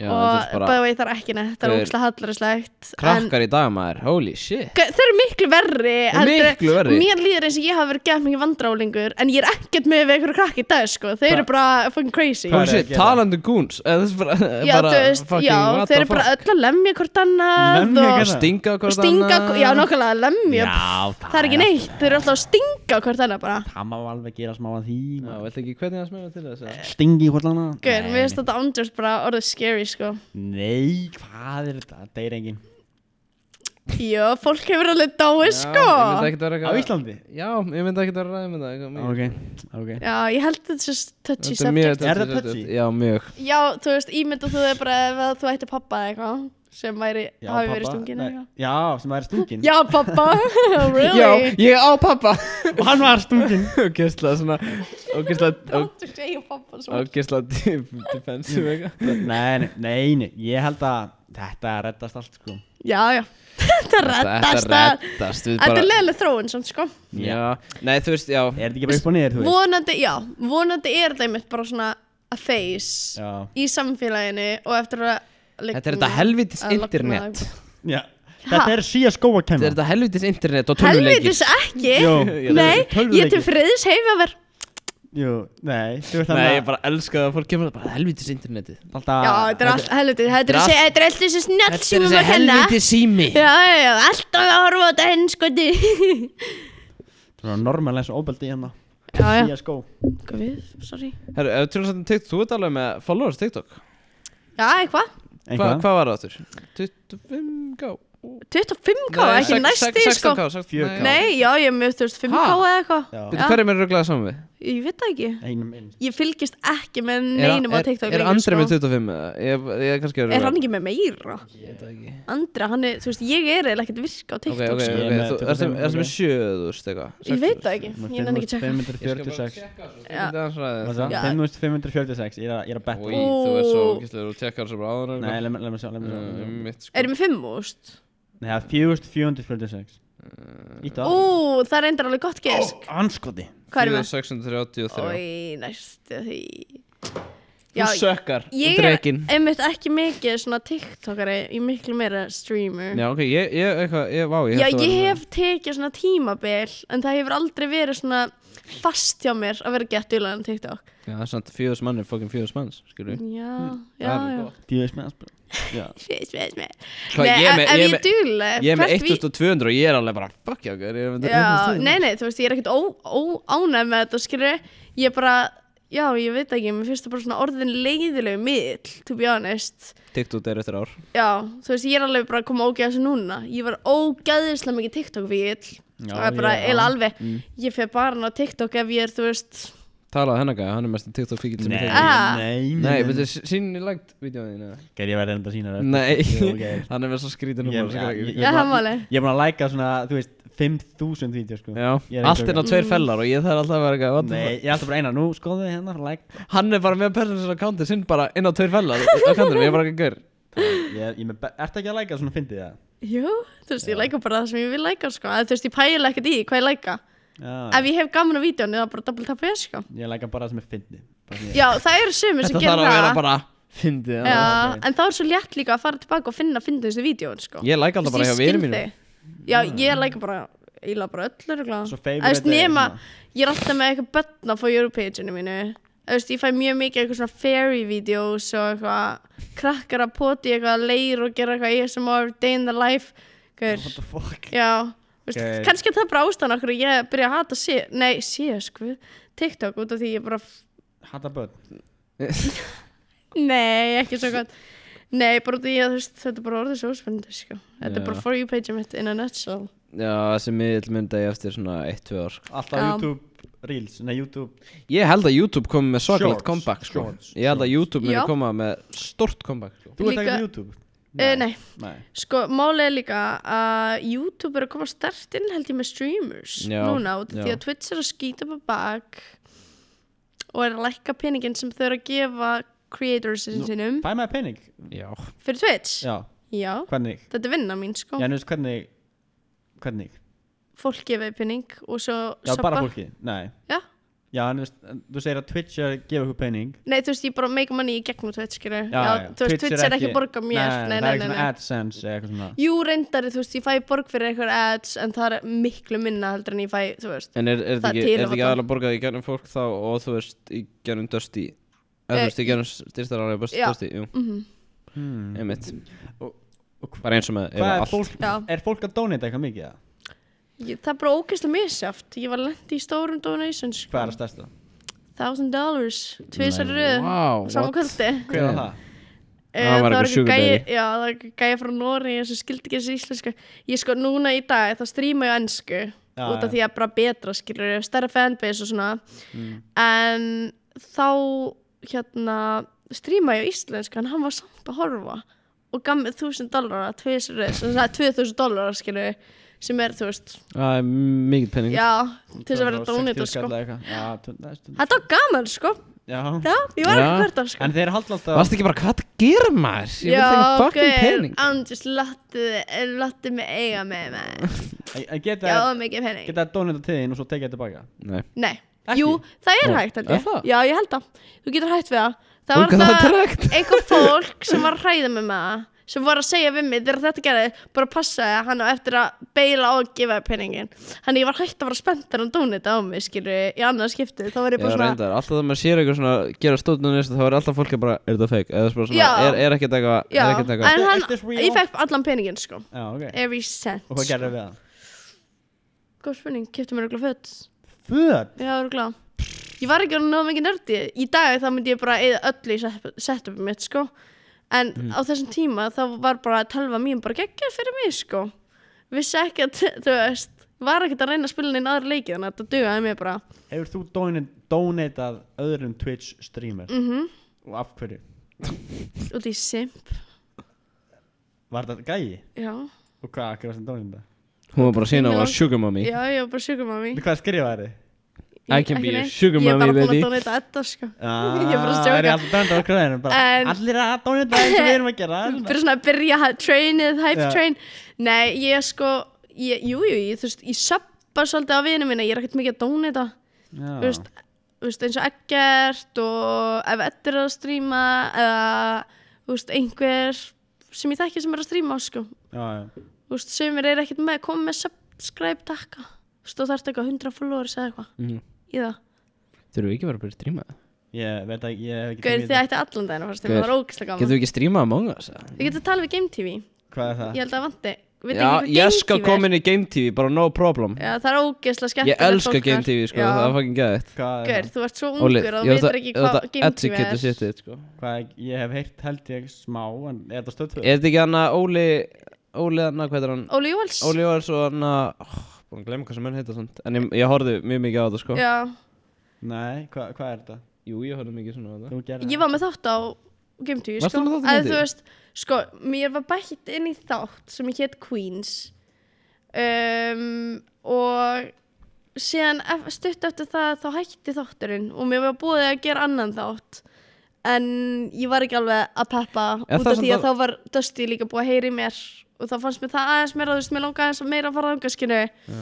S2: Já,
S1: Og
S2: þetta er
S1: bara
S2: bara
S1: veit þar ekki nett, það
S2: Þeir-
S1: er ógslag hallurislegt
S2: krakkar í dag maður Holy shit
S1: Þeir eru miklu verri
S2: Þeir eru
S1: heldur-
S2: miklu verri.
S1: og Mér líður eins og ég hafi verið gett mikið vandrálingur En ég er ekkert með við einhverju krakk í dag sko Þeir eru bara fucking crazy
S3: Hvað
S2: Holy
S3: er
S2: shit,
S3: að gera?
S2: talandi um goons eða þessi bara,
S1: Já,
S2: bara
S1: þú veist,
S2: fucking
S1: já, þeir
S2: what the
S1: eru bara öll
S2: fuck.
S1: að lemja hvort annað
S3: Lemja
S1: og
S3: hvort
S2: Stinga hvort
S1: Stinga,
S2: annað.
S1: já, nokkulega lemja Það er ekki neitt, þeir eru alltaf að stinga hvort annað bara
S3: það má alveg gera smá að því
S2: Já, veit ekki hvernig það smegða til þess að
S3: stingi hvort lana
S1: Gauður, mér finnst þetta ándjörst bara orðið scary sko
S3: nei hvað er þetta það er engin
S1: Jó, fólk hefur alveg dáið sko
S2: Ég myndi ekkert vera
S3: á
S2: eitthvað
S3: Íslandi
S2: Já, ég myndi ekkert vera að ræða um með það eitthvað mikið.
S3: ok ok
S1: Já, ég held þetta sé touchy
S2: Þetta er mjög
S1: subject
S3: Er það
S2: touchy
S3: touchy?
S2: subject. Já, mjög
S1: Já, þú veist, ímynda þú þig bara ef að þú ætti pappa eða eitthvað sem væri,
S3: Já,
S1: hafi verið
S3: pabba.
S1: stungin
S3: Nei,
S1: eða eitthvað
S3: já sem væri stungin
S1: Já, pappa, really?
S2: ég á pappa
S3: og hann var stungin
S2: Og gæstlega svona Og gæstlega
S1: Don't you say your papa svo
S2: Og gæstlega defensive eitthvað
S3: nei nei, nei nei ég held að þetta reddast allt sko
S1: Já, já, þetta reddast
S2: Þetta
S1: það
S2: reddast Við
S1: Þetta er
S2: bara
S1: leðileg þróun samt sko
S2: Já, nei þú veist, já
S3: er þetta ekki bara upp og niður þú veist
S1: Vonandi, já, vonandi er þetta einmitt bara svona a face
S3: já
S1: í samfélaginu og eftir að
S2: Þetta er þetta helvitis
S1: að logna
S2: internet
S1: það.
S3: Já, þetta er síða skóa
S2: Þetta
S3: kemur
S2: er þetta helvitis internet og tölvuleikir
S1: Helvitis ekki
S3: Jó.
S1: Nei, ég er
S3: Tölvuleikir.
S1: til friðis heima verð
S3: Jú, nei, þú veist
S2: Nei, ég
S3: þannig
S2: bara elska það að fólk kemur bara helvitis internetið
S3: alltaf
S1: Já, þetta er allt helviti Þetta er
S2: Þetta Ah, er
S1: þessi- þetta er allt þessi snjall
S2: Þetta er
S1: símum
S2: þessi
S1: að kenna
S2: helvitis sími
S1: hérna. Já, já, já, alltaf að horfa á þetta hinn sko, skoti
S3: Þetta er normal eins og óbeldi hérna
S1: Já, já,
S3: Síða skó
S1: við, sorry
S2: Herru, ef við tölum svolítið um TikTok, þú ert alveg með followers TikTok
S1: Já, eitthvað,
S2: Hva,
S3: Einhvað?
S2: Hvað var það áttur? 25k
S1: 25k, ekki næsti sko
S2: 16k, 16k
S1: Nei, já, ég er með, þú veist, 5k
S2: Ha?
S1: eða eitthvað
S3: Já,
S2: Býttu, Hverjum er rugglaðið saman við?
S1: Ég veit það ekki
S3: einum inn
S1: Ég fylgist ekki með
S2: Er-
S1: neinum á
S2: er-
S1: TikTok
S2: Er
S1: lengur,
S2: Andri
S1: sko.
S2: með 25 eða? Ég, ég er kannski að
S1: Er hann ekki með meira?
S2: Ég veit það ekki
S1: Andri, hann er, þú veist, ég er eiginlega ekkert virk á
S2: Ok,
S1: TikTok
S2: ok,
S1: sko.
S3: Ég
S2: ok
S3: er með
S2: Þú ert með
S3: 25,
S2: 7000
S3: ok.
S2: eitthvað
S1: Ég veit það ekki, ég nenni ekki að tjekka
S3: 546
S1: Já.
S3: Hvað
S2: Já
S1: Já.
S3: það? 5546 Ég er að- ég er að
S2: Új,
S3: betta
S2: þú er svo
S1: Ú.
S2: ógæslega og tjekkar þessu bara áður
S3: Nei, leið mér sjá leið mér sjá, leið mér sjá.
S2: Mitt sko
S1: Erum við 5 úst?
S3: Nei, það er 4446
S2: Uh,
S3: Ítta
S1: Ú, það er reyndar alveg gott gesk
S3: Anskoti
S1: Hvað erum við?
S2: 633
S1: Ói, næstu því Já,
S2: Þú sökkar
S1: ég er
S2: Drekinn
S1: einmitt ekki mikið svona tiktokari Ég er miklu meira streamer
S2: Já, ok, ég, ég, eitthvað, ég, vá,
S1: Mm.
S2: ég
S1: Já,
S2: hélt þú
S1: ég
S2: værir
S1: hef tekið svona tímabil En það hefur aldrei verið svona fast hjá mér að vera gett dýlaðan tiktok
S2: Já, það er samt fjöðus mann er fokkin fjöðus manns, skilur við
S1: Já, já,
S2: Hm, Það er
S1: já
S2: gott.
S3: Díðis með aspil Já
S1: Fis, fis, fis.
S2: Hvað,
S1: Nei,
S2: ég er
S1: ef
S2: með-
S1: ef
S2: ég er
S1: ég
S2: með-
S1: dúlega
S2: Ég er með 1200 og ég er alveg bara Fuck já, gör, ég er með
S1: Já, nei, nei, þú veist, ég er ekkert ó- ó- ánægð með þetta, skilur Ég bara, já, ég veit ekki, mér finnst það bara svona orðin leiðilegu miðl, to be honest
S2: TikTok er eftir ár
S1: Já, þú veist, ég er alveg bara að koma ógeða þessu núna Ég var ógeðislega mikið TikTok-fíl
S3: Já,
S1: Það er bara
S3: ég-
S1: eila
S3: já.
S1: alveg
S2: Mm.
S1: Ég fer bara hann á TikTok ef ég er, þú veist
S2: Talaði hennar gæði, hann er mest TikTok fíkil sem
S3: Nei,
S2: ég
S1: Ah.
S2: þekki
S3: nei,
S2: Nei, betur sínni langt vídjóðin þín eða?
S3: Gerði ég verið enda sína þetta?
S2: Nei,
S3: Jú, ok.
S2: hann er með svo skrítin
S3: Ég-
S2: humor, skilur
S3: ég-
S2: við.
S3: ég-
S1: Já,
S3: bara-
S1: það máli
S3: Ég er búin að læka svona, þú veist, 5000 vídeo sko
S2: Já,
S3: Ég er
S2: allt
S3: ekki
S2: er á
S3: ok.
S2: tveir fellar og ég þarf alltaf að vera eitthvað what the
S3: Nei, ég er alltaf bara eina, nú skoðu þið hennar, like
S2: fuck. Hann er bara með personal accounti sinn bara inn á tveir fellar á kantinum, ég er bara ekki gaur
S3: Ég er, ég með, ertu ekki að læka svona, fyndið það?
S1: Jú, þú veist, ég læka bara það sem ég vil læka, sko Eða, Þú veist, ég pæla ekkert í því hvað ég læka
S3: Já,
S1: Ef ég hef gaman á vídjónu, það er bara double tap sko
S3: ég læka bara það sem er fyndið Bara sem ég-
S1: Já, það eru sömur sem
S2: Þetta
S1: gerir
S2: þarf að vera
S1: það
S2: bara fyndið
S1: Já,
S2: eða-
S1: en þá er svo létt líka að fara tilbaka og finna fyndustu vídjón, sko.
S2: Ég læk alltaf bara hjá
S1: skil
S2: vinum mínum
S1: þig. Já, ég læka bara, ég læka bara öll, örgulega.
S3: Svo favorite
S1: Þú veist,
S3: er
S1: nema,
S3: svona-
S1: ég er alltaf með eitthvað börna á for you page-inu mínu. þú veist, ég fæ mjög mikið eitthvað svona fairy videos og eitthvað krakkar að poti eitthvað leir og gera eitthvað ASMR day in the life Hver,
S3: What the fuck
S1: já, þú veist,
S3: Ok.
S1: kannski það er bara ástæðan okkur ég byrja að hata sé, nei, sé sko TikTok út af því ég bara
S3: Hata börn
S1: nei, ekki svo gott nei, bara út af því að þú veist, þetta er bara orðið svo spennandi sko. þetta
S2: Já.
S1: er bara for you page mitt in a nutshell
S2: Já, þessi miðl myndi ég eftir svona 1-2 ár sko.
S3: Alltaf
S1: Já.
S3: YouTube Reels Nei, YouTube
S2: Ég held að YouTube komi með svakalegt
S3: Shorts,
S2: comeback sko.
S3: shorts,
S2: Ég held að
S3: shorts.
S2: YouTube muni
S1: Já.
S2: koma með stort comeback sko.
S3: Þú ert
S1: Líka-
S3: ekki með YouTube?
S1: Eh, nei.
S3: Nei
S1: Sko, málið er líka að YouTube er að koma stert inn held ég með streamers
S2: Já,
S1: núna út af því
S2: já.
S1: að Twitch er að skýta upp á bak og er að lækka peningin sem þau eru að gefa creatorsinn
S3: Nú.
S1: sínum
S3: Fæ maður pening?
S2: Já
S1: fyrir Twitch.
S3: Já,
S1: Já,
S3: hvernig?
S1: þetta er vinna mín sko.
S3: Já, en þú veist hvernig Hvernig?
S1: Fólk gefa því pening og svo
S3: Já,
S1: subba.
S3: bara fólki? Nei
S1: Já.
S3: Já, en þú veist en Þú segir að Twitch er að gefa okkur pening
S1: Nei, þú veist, ég bara make money í gegnum Twitch, skilur.
S3: Já, já,
S1: Þú veist, Twitch er ekki að borga mér. Nei,
S3: það
S1: nei,
S3: er
S1: nei,
S3: ekki
S1: nei.
S3: svona AdSense eða eitthvað svona
S1: Jú, reyndari, þú veist, ég fæ borg fyrir eitthvað ads en það er miklu minna heldur en ég fæ, þú veist.
S2: En er, er þetta
S1: Það
S2: ekki, er
S1: tilheyrir
S2: þetta ekki
S1: bara-
S2: aðalega borgað í gænum fólk þá og þú veist í gænum Dusty eða þú
S1: Eh,
S2: veist í gænum styrstar ára
S1: já.
S2: Dusty, jú,
S1: Mm
S3: Hmm.
S2: einmitt
S3: Og hva-
S2: Bara eins og með
S3: Hvað
S2: eiginlega
S3: er fólk,
S1: Já.
S3: er fólk að donata eitthvað mikið? eða?
S1: Ég, það er bara ógeðslega misjáft. Ég var lent í stórum donations.
S3: Hvað er að stærsta?
S1: Thousand dollars. Tvísar
S2: Nei,
S1: röð.
S2: vá,
S1: Samma
S2: what?
S1: kvöldi.
S3: Hver er það?
S1: Eh,
S2: Það var eitthvað sugar
S1: gæi-
S2: daddy.
S1: Já, það var eitthvað gæja frá Nóri sem skildi ekki þessi íslensku. Ég sko núna í dag, það stríma ég á ennsku.
S3: Já,
S1: út af
S3: já.
S1: því að bara betra skilur ég, stærra fanbase og svona.
S3: Mm.
S1: En þá, hérna, stríma ég á íslensku en hann var samt að horfa. Og gaf mér 1000 dollara, tvisar röð, sem það er 2000 dollara skilur ég, sem er, þú veist,
S2: Það er mikið penning
S1: já, til þess að vera donita sko. Þetta var gaman sko
S3: Já,
S1: Já, ég var ekki
S2: Já.
S1: hvert að sko
S3: en þeir haldi alltaf
S2: Varst ekki bara hvað það gerir maður? Ég vil þengja fucking penning
S1: andjus, láttu mig eiga með mig
S3: Að- að Geta,
S1: Ég á mikið pening
S3: geta donata til þín og svo tekið þetta tilbaka
S2: Nei,
S1: Nei,
S3: Ekki?
S1: jú, það er
S2: Nú,
S1: hægt held
S2: er
S1: ég
S2: það?
S1: Já, ég held það, þú getur hægt við það Það var
S2: Unga, það er
S1: það
S2: tregt
S1: einhver fólk sem var að hræða mig með það sem voru að segja við mig þegar þetta gerði bara passa að hann á eftir að beila og gefa þér peningin þannig ég var hægt að vera spennt þegar hann dónita á mig skilur í annað skiptið þá var ég
S2: Já,
S1: bara svona
S2: reyndar, alltaf þegar maður sér eitthvað svona gera stóðnum næstu þá er alltaf fólk að bara, er þetta fake? Eða bara svona,
S1: Já.
S2: er, er ekkert eitthvað,
S1: Já,
S2: er ekkert eitthvað
S1: en hann,
S3: Is this real?
S1: ég fekk allan peningin sko
S3: Já, ok
S1: Every cent
S3: Og hvað gerðu við það?
S1: Góð spurning, kefti mér örgulega fött
S3: Föt
S1: Já, örgulega Ég var ekki orðin ná mikið nördi Í dag þá myndi ég bara eða öllu í set- setupið mitt, sko En á þessum tíma þá var bara að telfa mín bara geggjað fyrir mig, sko Vissi ekki að, þú veist Var ekkert að reyna að spila neina aðra leikið Þannig að þetta dugaði mér bara
S3: Hefur þú doni- donatað öðrum Twitch streamer?
S1: mm
S3: Og af hverju?
S1: Út í simp,
S3: Var þetta gæi?
S1: já
S3: Og hvað, hvað var þetta donata?
S2: Hún var bara að sína að hún var
S1: Já.
S2: sugar mommy
S1: Já, ég var bara sugar mommy
S3: Hvað skrifaði þið?
S2: I
S1: Ekki
S2: can be a
S1: neitt.
S2: sugar
S1: Ég er bara
S2: mommy,
S1: búin
S2: baby
S1: að donita þetta, sko
S3: Ah,
S1: Ég er bara að
S3: Er
S1: stjóka.
S3: ég alltaf dönda á græðinu bara
S1: En-
S3: Allir að dónið það eins og við erum að gera
S1: byrja svona að byrja að trainið, hype
S3: Já.
S1: train nei, ég sko ég, jú, jú, ég, þú veist, ég söppa svolítið á vinu minna, ég er ekkert mikið að dónita þú
S3: Já.
S1: veist, þú veist, eins og ekkert og ef Edda er að stríma eða, þú veist, einhver sem ég þekki sem er að stríma, sko
S3: Já, já.
S1: þú veist, sumir er ekkert með, koma með subscribe takka, þú veist, þú þarft eitthvað 100 followers eða eitthvað
S2: Mhm.
S1: í það
S2: Þurfum við ekki bara að byrja að stríma það?
S3: Ég veit að ég hef ekki
S1: Gaur,
S3: tekið
S1: þið ætti allan daginn að fara að stríma,
S2: Gaur,
S1: það var ógeðslega
S2: Getum
S1: gaman
S2: við ekki strímað Among Us? eða?
S1: Þið getur talað við Game TV,
S3: Hvað er það?
S1: ég held að vanti Vitið
S2: Já,
S1: ekki hvað
S2: ég
S1: Game
S2: skal
S1: TV er?
S2: koma inn í Game TV, bara no problem
S1: Já, það er ógeðslega skemmtilegt
S2: Ég elska
S1: fólk
S2: Game
S1: þar.
S2: TV, sko,
S1: Já.
S2: það er fucking gæðið
S3: Hvað er
S1: Gaur,
S3: það?
S1: þú ert svo
S2: Óli,
S1: ungur að þú
S2: ég
S1: veitir ekki hvað
S2: þetta
S1: Game TV
S2: educated
S1: er
S2: shit þitt, sko
S3: Hvað er, ég hef heyrt held ég smá En er þetta stöðtöð?
S2: Er þetta ekki hann að Óli, Óli hann hvað er hann?
S1: Óli Jóhals
S2: Óli Jóhars og hann að, oh, búin að glemma hvað sem henn heita samt En ég, ég horfði mjög mikið á þetta, sko
S1: Já,
S3: Nei, hvað hva er þetta?
S2: Jú, ég horfði mikið svona á þetta
S3: Þú gerir
S1: ég var með þátt á Game TV,
S2: Varstu
S1: sko
S2: með þátt á Game
S1: En
S2: TV?
S1: þú veist, sko, mér var bætt inn í þátt sem ég hétt Queens um, Og síðan ef- stutt eftir það þá hætti þátturinn Og mér var búið að gera annan þátt En ég var ekki alveg að peppa
S2: Er
S1: út af
S2: það sem
S1: því að
S2: það-
S1: þá var Dusty líka búið að heyri mér og þá fannst mér það aðeins meira, þú veist, mér langaði aðeins meira að fara þangaskinu
S2: Já.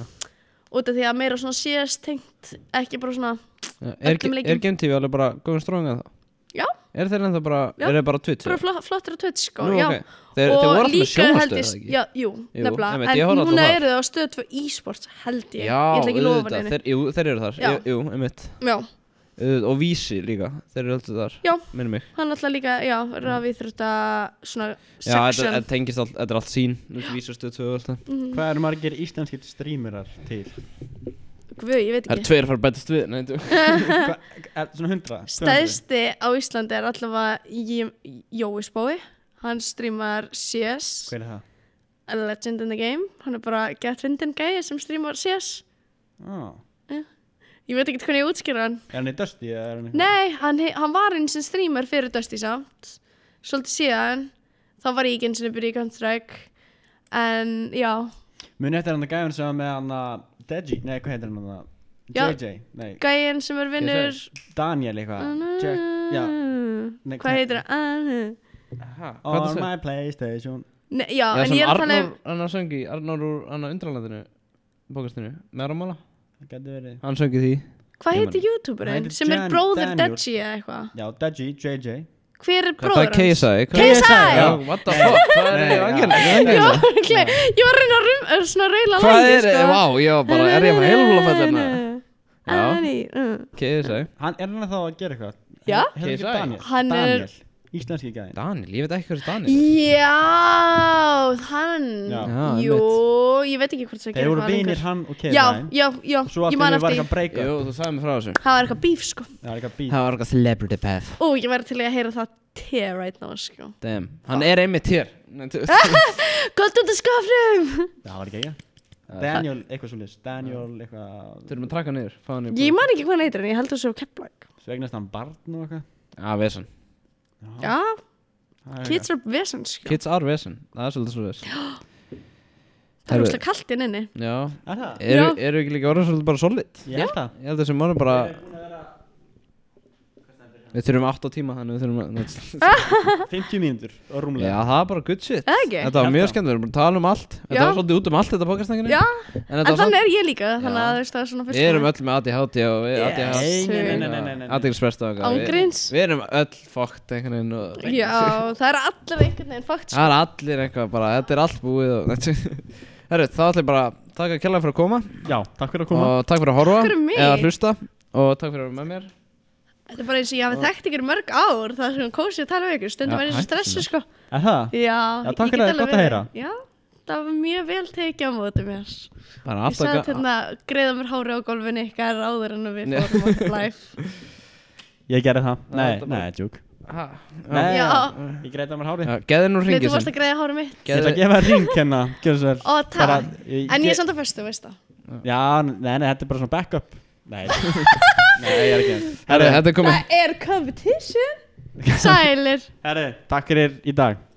S1: út af því að meira svona CS tengt, ekki bara svona
S2: Já, Er,
S1: öllum leikjum.
S2: er Game TV alveg bara góðum stróðan það?
S1: Já.
S2: Er þeir ennþá bara,
S1: Já.
S2: er þeir bara Twitch?
S1: bara
S2: eða?
S1: flott, flottir á Twitch sko,
S2: Nú,
S1: já
S2: ok. Þeir, þeir voru alltaf með sjónastöð, eða ekki?
S1: já, jú,
S2: Jú,
S1: nefnilega,
S2: einmitt, ég horfði á
S1: en núna
S2: það.
S1: eru þau á stöð 2 e-sports held ég,
S2: Já,
S1: ég ætla ekki að lofa
S2: auðvitað,
S1: henni
S2: þeir, jú, þeir eru þar,
S1: Já.
S2: Jú, jú, einmitt
S1: já,
S2: uh, og vísi líka, þeir eru alltaf þar
S1: Já.
S2: minnum mig
S1: Hann alltaf líka, já, rafið þrjóta svona
S2: já, þetta,
S1: section
S2: þetta tengist allt, þetta er allt sín vísastu tvö og allt það
S3: Hvað eru margir íslenskir streamerar til?
S1: Guð, ég veit
S2: það er
S1: ekki
S2: tveir að fara að betast við nei, þú-
S3: Hva, er, svona hundra?
S1: Stæðsti á Íslandi er allavega J- Jói Spói Hann streamar CS
S3: Hver er það?
S1: A Legend in the Game Hann er bara gett fyndin gæi sem streamar CS
S3: Oh.
S1: Ég veit ekki hvernig ég útskýra hann
S3: Er hann í Dusty? eða Er hann í-
S1: Nei, hann, he- hann var eins og streamer fyrir Dusty samt Svolítið síðan Þá var ég ekki eins og byrja í Counter-Strike En já,
S3: Muni eftir hann að gæfin sem var með hann að Deji? Nei, hvað heitir hann að?
S1: Já.
S3: JJ? Nei,
S1: gæin sem er vinnur
S3: Daniel eitthvað ah, Jack, já Nei,
S1: Hvað heitir það?
S2: Hvað
S3: On
S2: það
S3: my Playstation
S1: Nei, já,
S2: það
S1: en ég er að tala um
S2: Arnór, hann að söngi, Arnór úr hann að undralandinu bókastinu, með Ramála
S3: Það getur verið
S2: hann söngi því
S1: Hvað
S2: Ég
S1: heitir
S3: Hann
S1: youtuberinn
S3: heitir
S1: sem er
S3: Jan
S1: bróðir
S3: Daniel.
S1: Deji eða eitthvað?
S3: Já, Deji, JJ
S1: Hver er
S2: hvað er
S1: bróður hans?
S2: KSI?
S1: KSI?
S2: Já, what the fuck, hvað er
S3: Nei,
S2: í
S3: já.
S2: vanginni? Hvað er í
S1: Já,
S2: vanginni?
S1: örugglega. ég var að reyna að rum, er svona reyla
S2: Hvað
S1: lengi,
S2: er,
S1: sko.
S2: vá, ég var bara, er ég bara heilfúla fæll hérna? Já.
S1: Já.
S2: KSI,
S3: Hann er hann þá að gera eitthvað
S1: Já.
S3: Heitir ekki
S2: KSI?
S3: Daniel
S1: Hann er-
S3: Daniel Íslenski gæðin
S2: Daniel, ég veit ekki hvað er Daniel er.
S1: Já, hann.
S3: Já.
S2: Já,
S1: Jú, ég veit ekki hvort það
S3: Þeir
S1: gerir
S3: voru
S1: hvað
S3: vinir
S1: lengur.
S3: hann og
S1: Já,
S3: K-Dine
S1: já, já,
S3: Svo allt
S1: ég
S3: í
S1: man
S3: einu var
S1: eftir.
S3: eitthvað breyka
S2: Jú, þú sagði mér frá þessu
S1: Það var eitthvað bíf, sko.
S3: Það er eitthvað bíl
S2: Það var eitthvað celebrity path
S1: Ó, ég væri til í að heyra það tear right now, sko.
S2: Damn, hann er einmitt hér Nei, þú-
S1: Ah! Gott út af skafnum!
S3: Það var ekki ekki Daniel, eitthvað svo Daniel, eitthvað
S2: Þurfum að traka niður, fá hann í
S1: Ég man ekki hvað hann heitir en ég held að það svo kepplæk.
S3: Svegnast hann barn og eitthvað
S2: Já, vesen
S1: Já,
S3: Það er
S1: kids are vesen, sko.
S2: Kids are vesen, það er svolítið svolítið
S1: Það er úrst að kallt inn inni.
S2: Já,
S3: eitthvað. Er það?
S2: eru eru ekki líka orðin svolítið bara solid?
S3: Ég held það
S2: Ég held þessum orðin bara Við þurfum 8 tíma þannig við þurfum að
S3: 50 mínútur og
S2: Já,
S3: rúmlega
S2: það er bara good shit
S1: Eða ekki?
S2: Þetta var
S3: Held
S2: mjög
S3: það.
S2: skemmt, við erum bara að tala um allt Þetta
S1: Já.
S2: var svolítið út um allt þetta bókastækinu
S1: Já,
S2: en
S1: en
S2: þetta var
S1: þannig
S2: svolítið
S1: er ég líka, þannig að þú veist það er svona fyrst.
S2: Við erum öll með ADHD og við
S1: Yes.
S2: ADHD
S3: Nei, nei, nei, nei, nei, nei, nei.
S2: Aðeinsverst og eitthvað.
S1: Án
S2: Við-
S1: gríns.
S2: Við erum öll fokkt einhvern veginn og
S1: Já, það er allir einhvern veginn fakt, sko.
S2: Það er allir eitthvað bara, þetta er allt búið og Herru, þá ætlum ég bara að taka kjærlega fyrir að koma
S3: Já, takk fyrir að koma
S2: og takk fyrir að horfa
S1: Takk fyrir mig.
S2: eða hlusta og takk fyrir að vera með mér
S1: Þetta er bara eins og ég hafi þekkt ykkur í mörg ár, það er svona kósið að tala við ykkur, stundum
S2: Já,
S1: er ég svo
S2: hættu
S1: stressu, sko.
S3: Er það?
S1: Já,
S3: Já, takk
S1: ég get
S3: fyrir
S1: alveg
S3: það, gott að
S1: verið-
S3: heyra.
S1: Já, það var mjög vel tekið á móti mér
S2: Bara
S1: Ég sagði
S2: alltaf
S1: hérna, greiða mér hári á golfinu ykkar áður en við fórum á live
S3: Ég gerði það
S2: Já,
S3: Nei,
S2: þetta var-
S3: nei, djúk
S2: hérna
S3: Nei,
S1: Já.
S3: ég greiði það mér hárið
S2: Geði nú
S1: Nei, þú
S2: ringið
S1: varst
S2: sinn
S1: að greiða hári mitt
S3: Ég ætla að gefa þér ring hérna Gjörðu svo vel
S1: Ó,
S3: Bara,
S1: takk, en ég er samt að festu, veist það
S3: Já, nei, nei, þetta er bara svona backup Nei Nei, ég er ekki
S2: Herru, þetta er komið
S1: Það er competition Sælir
S3: Herri, takk fyrir í dag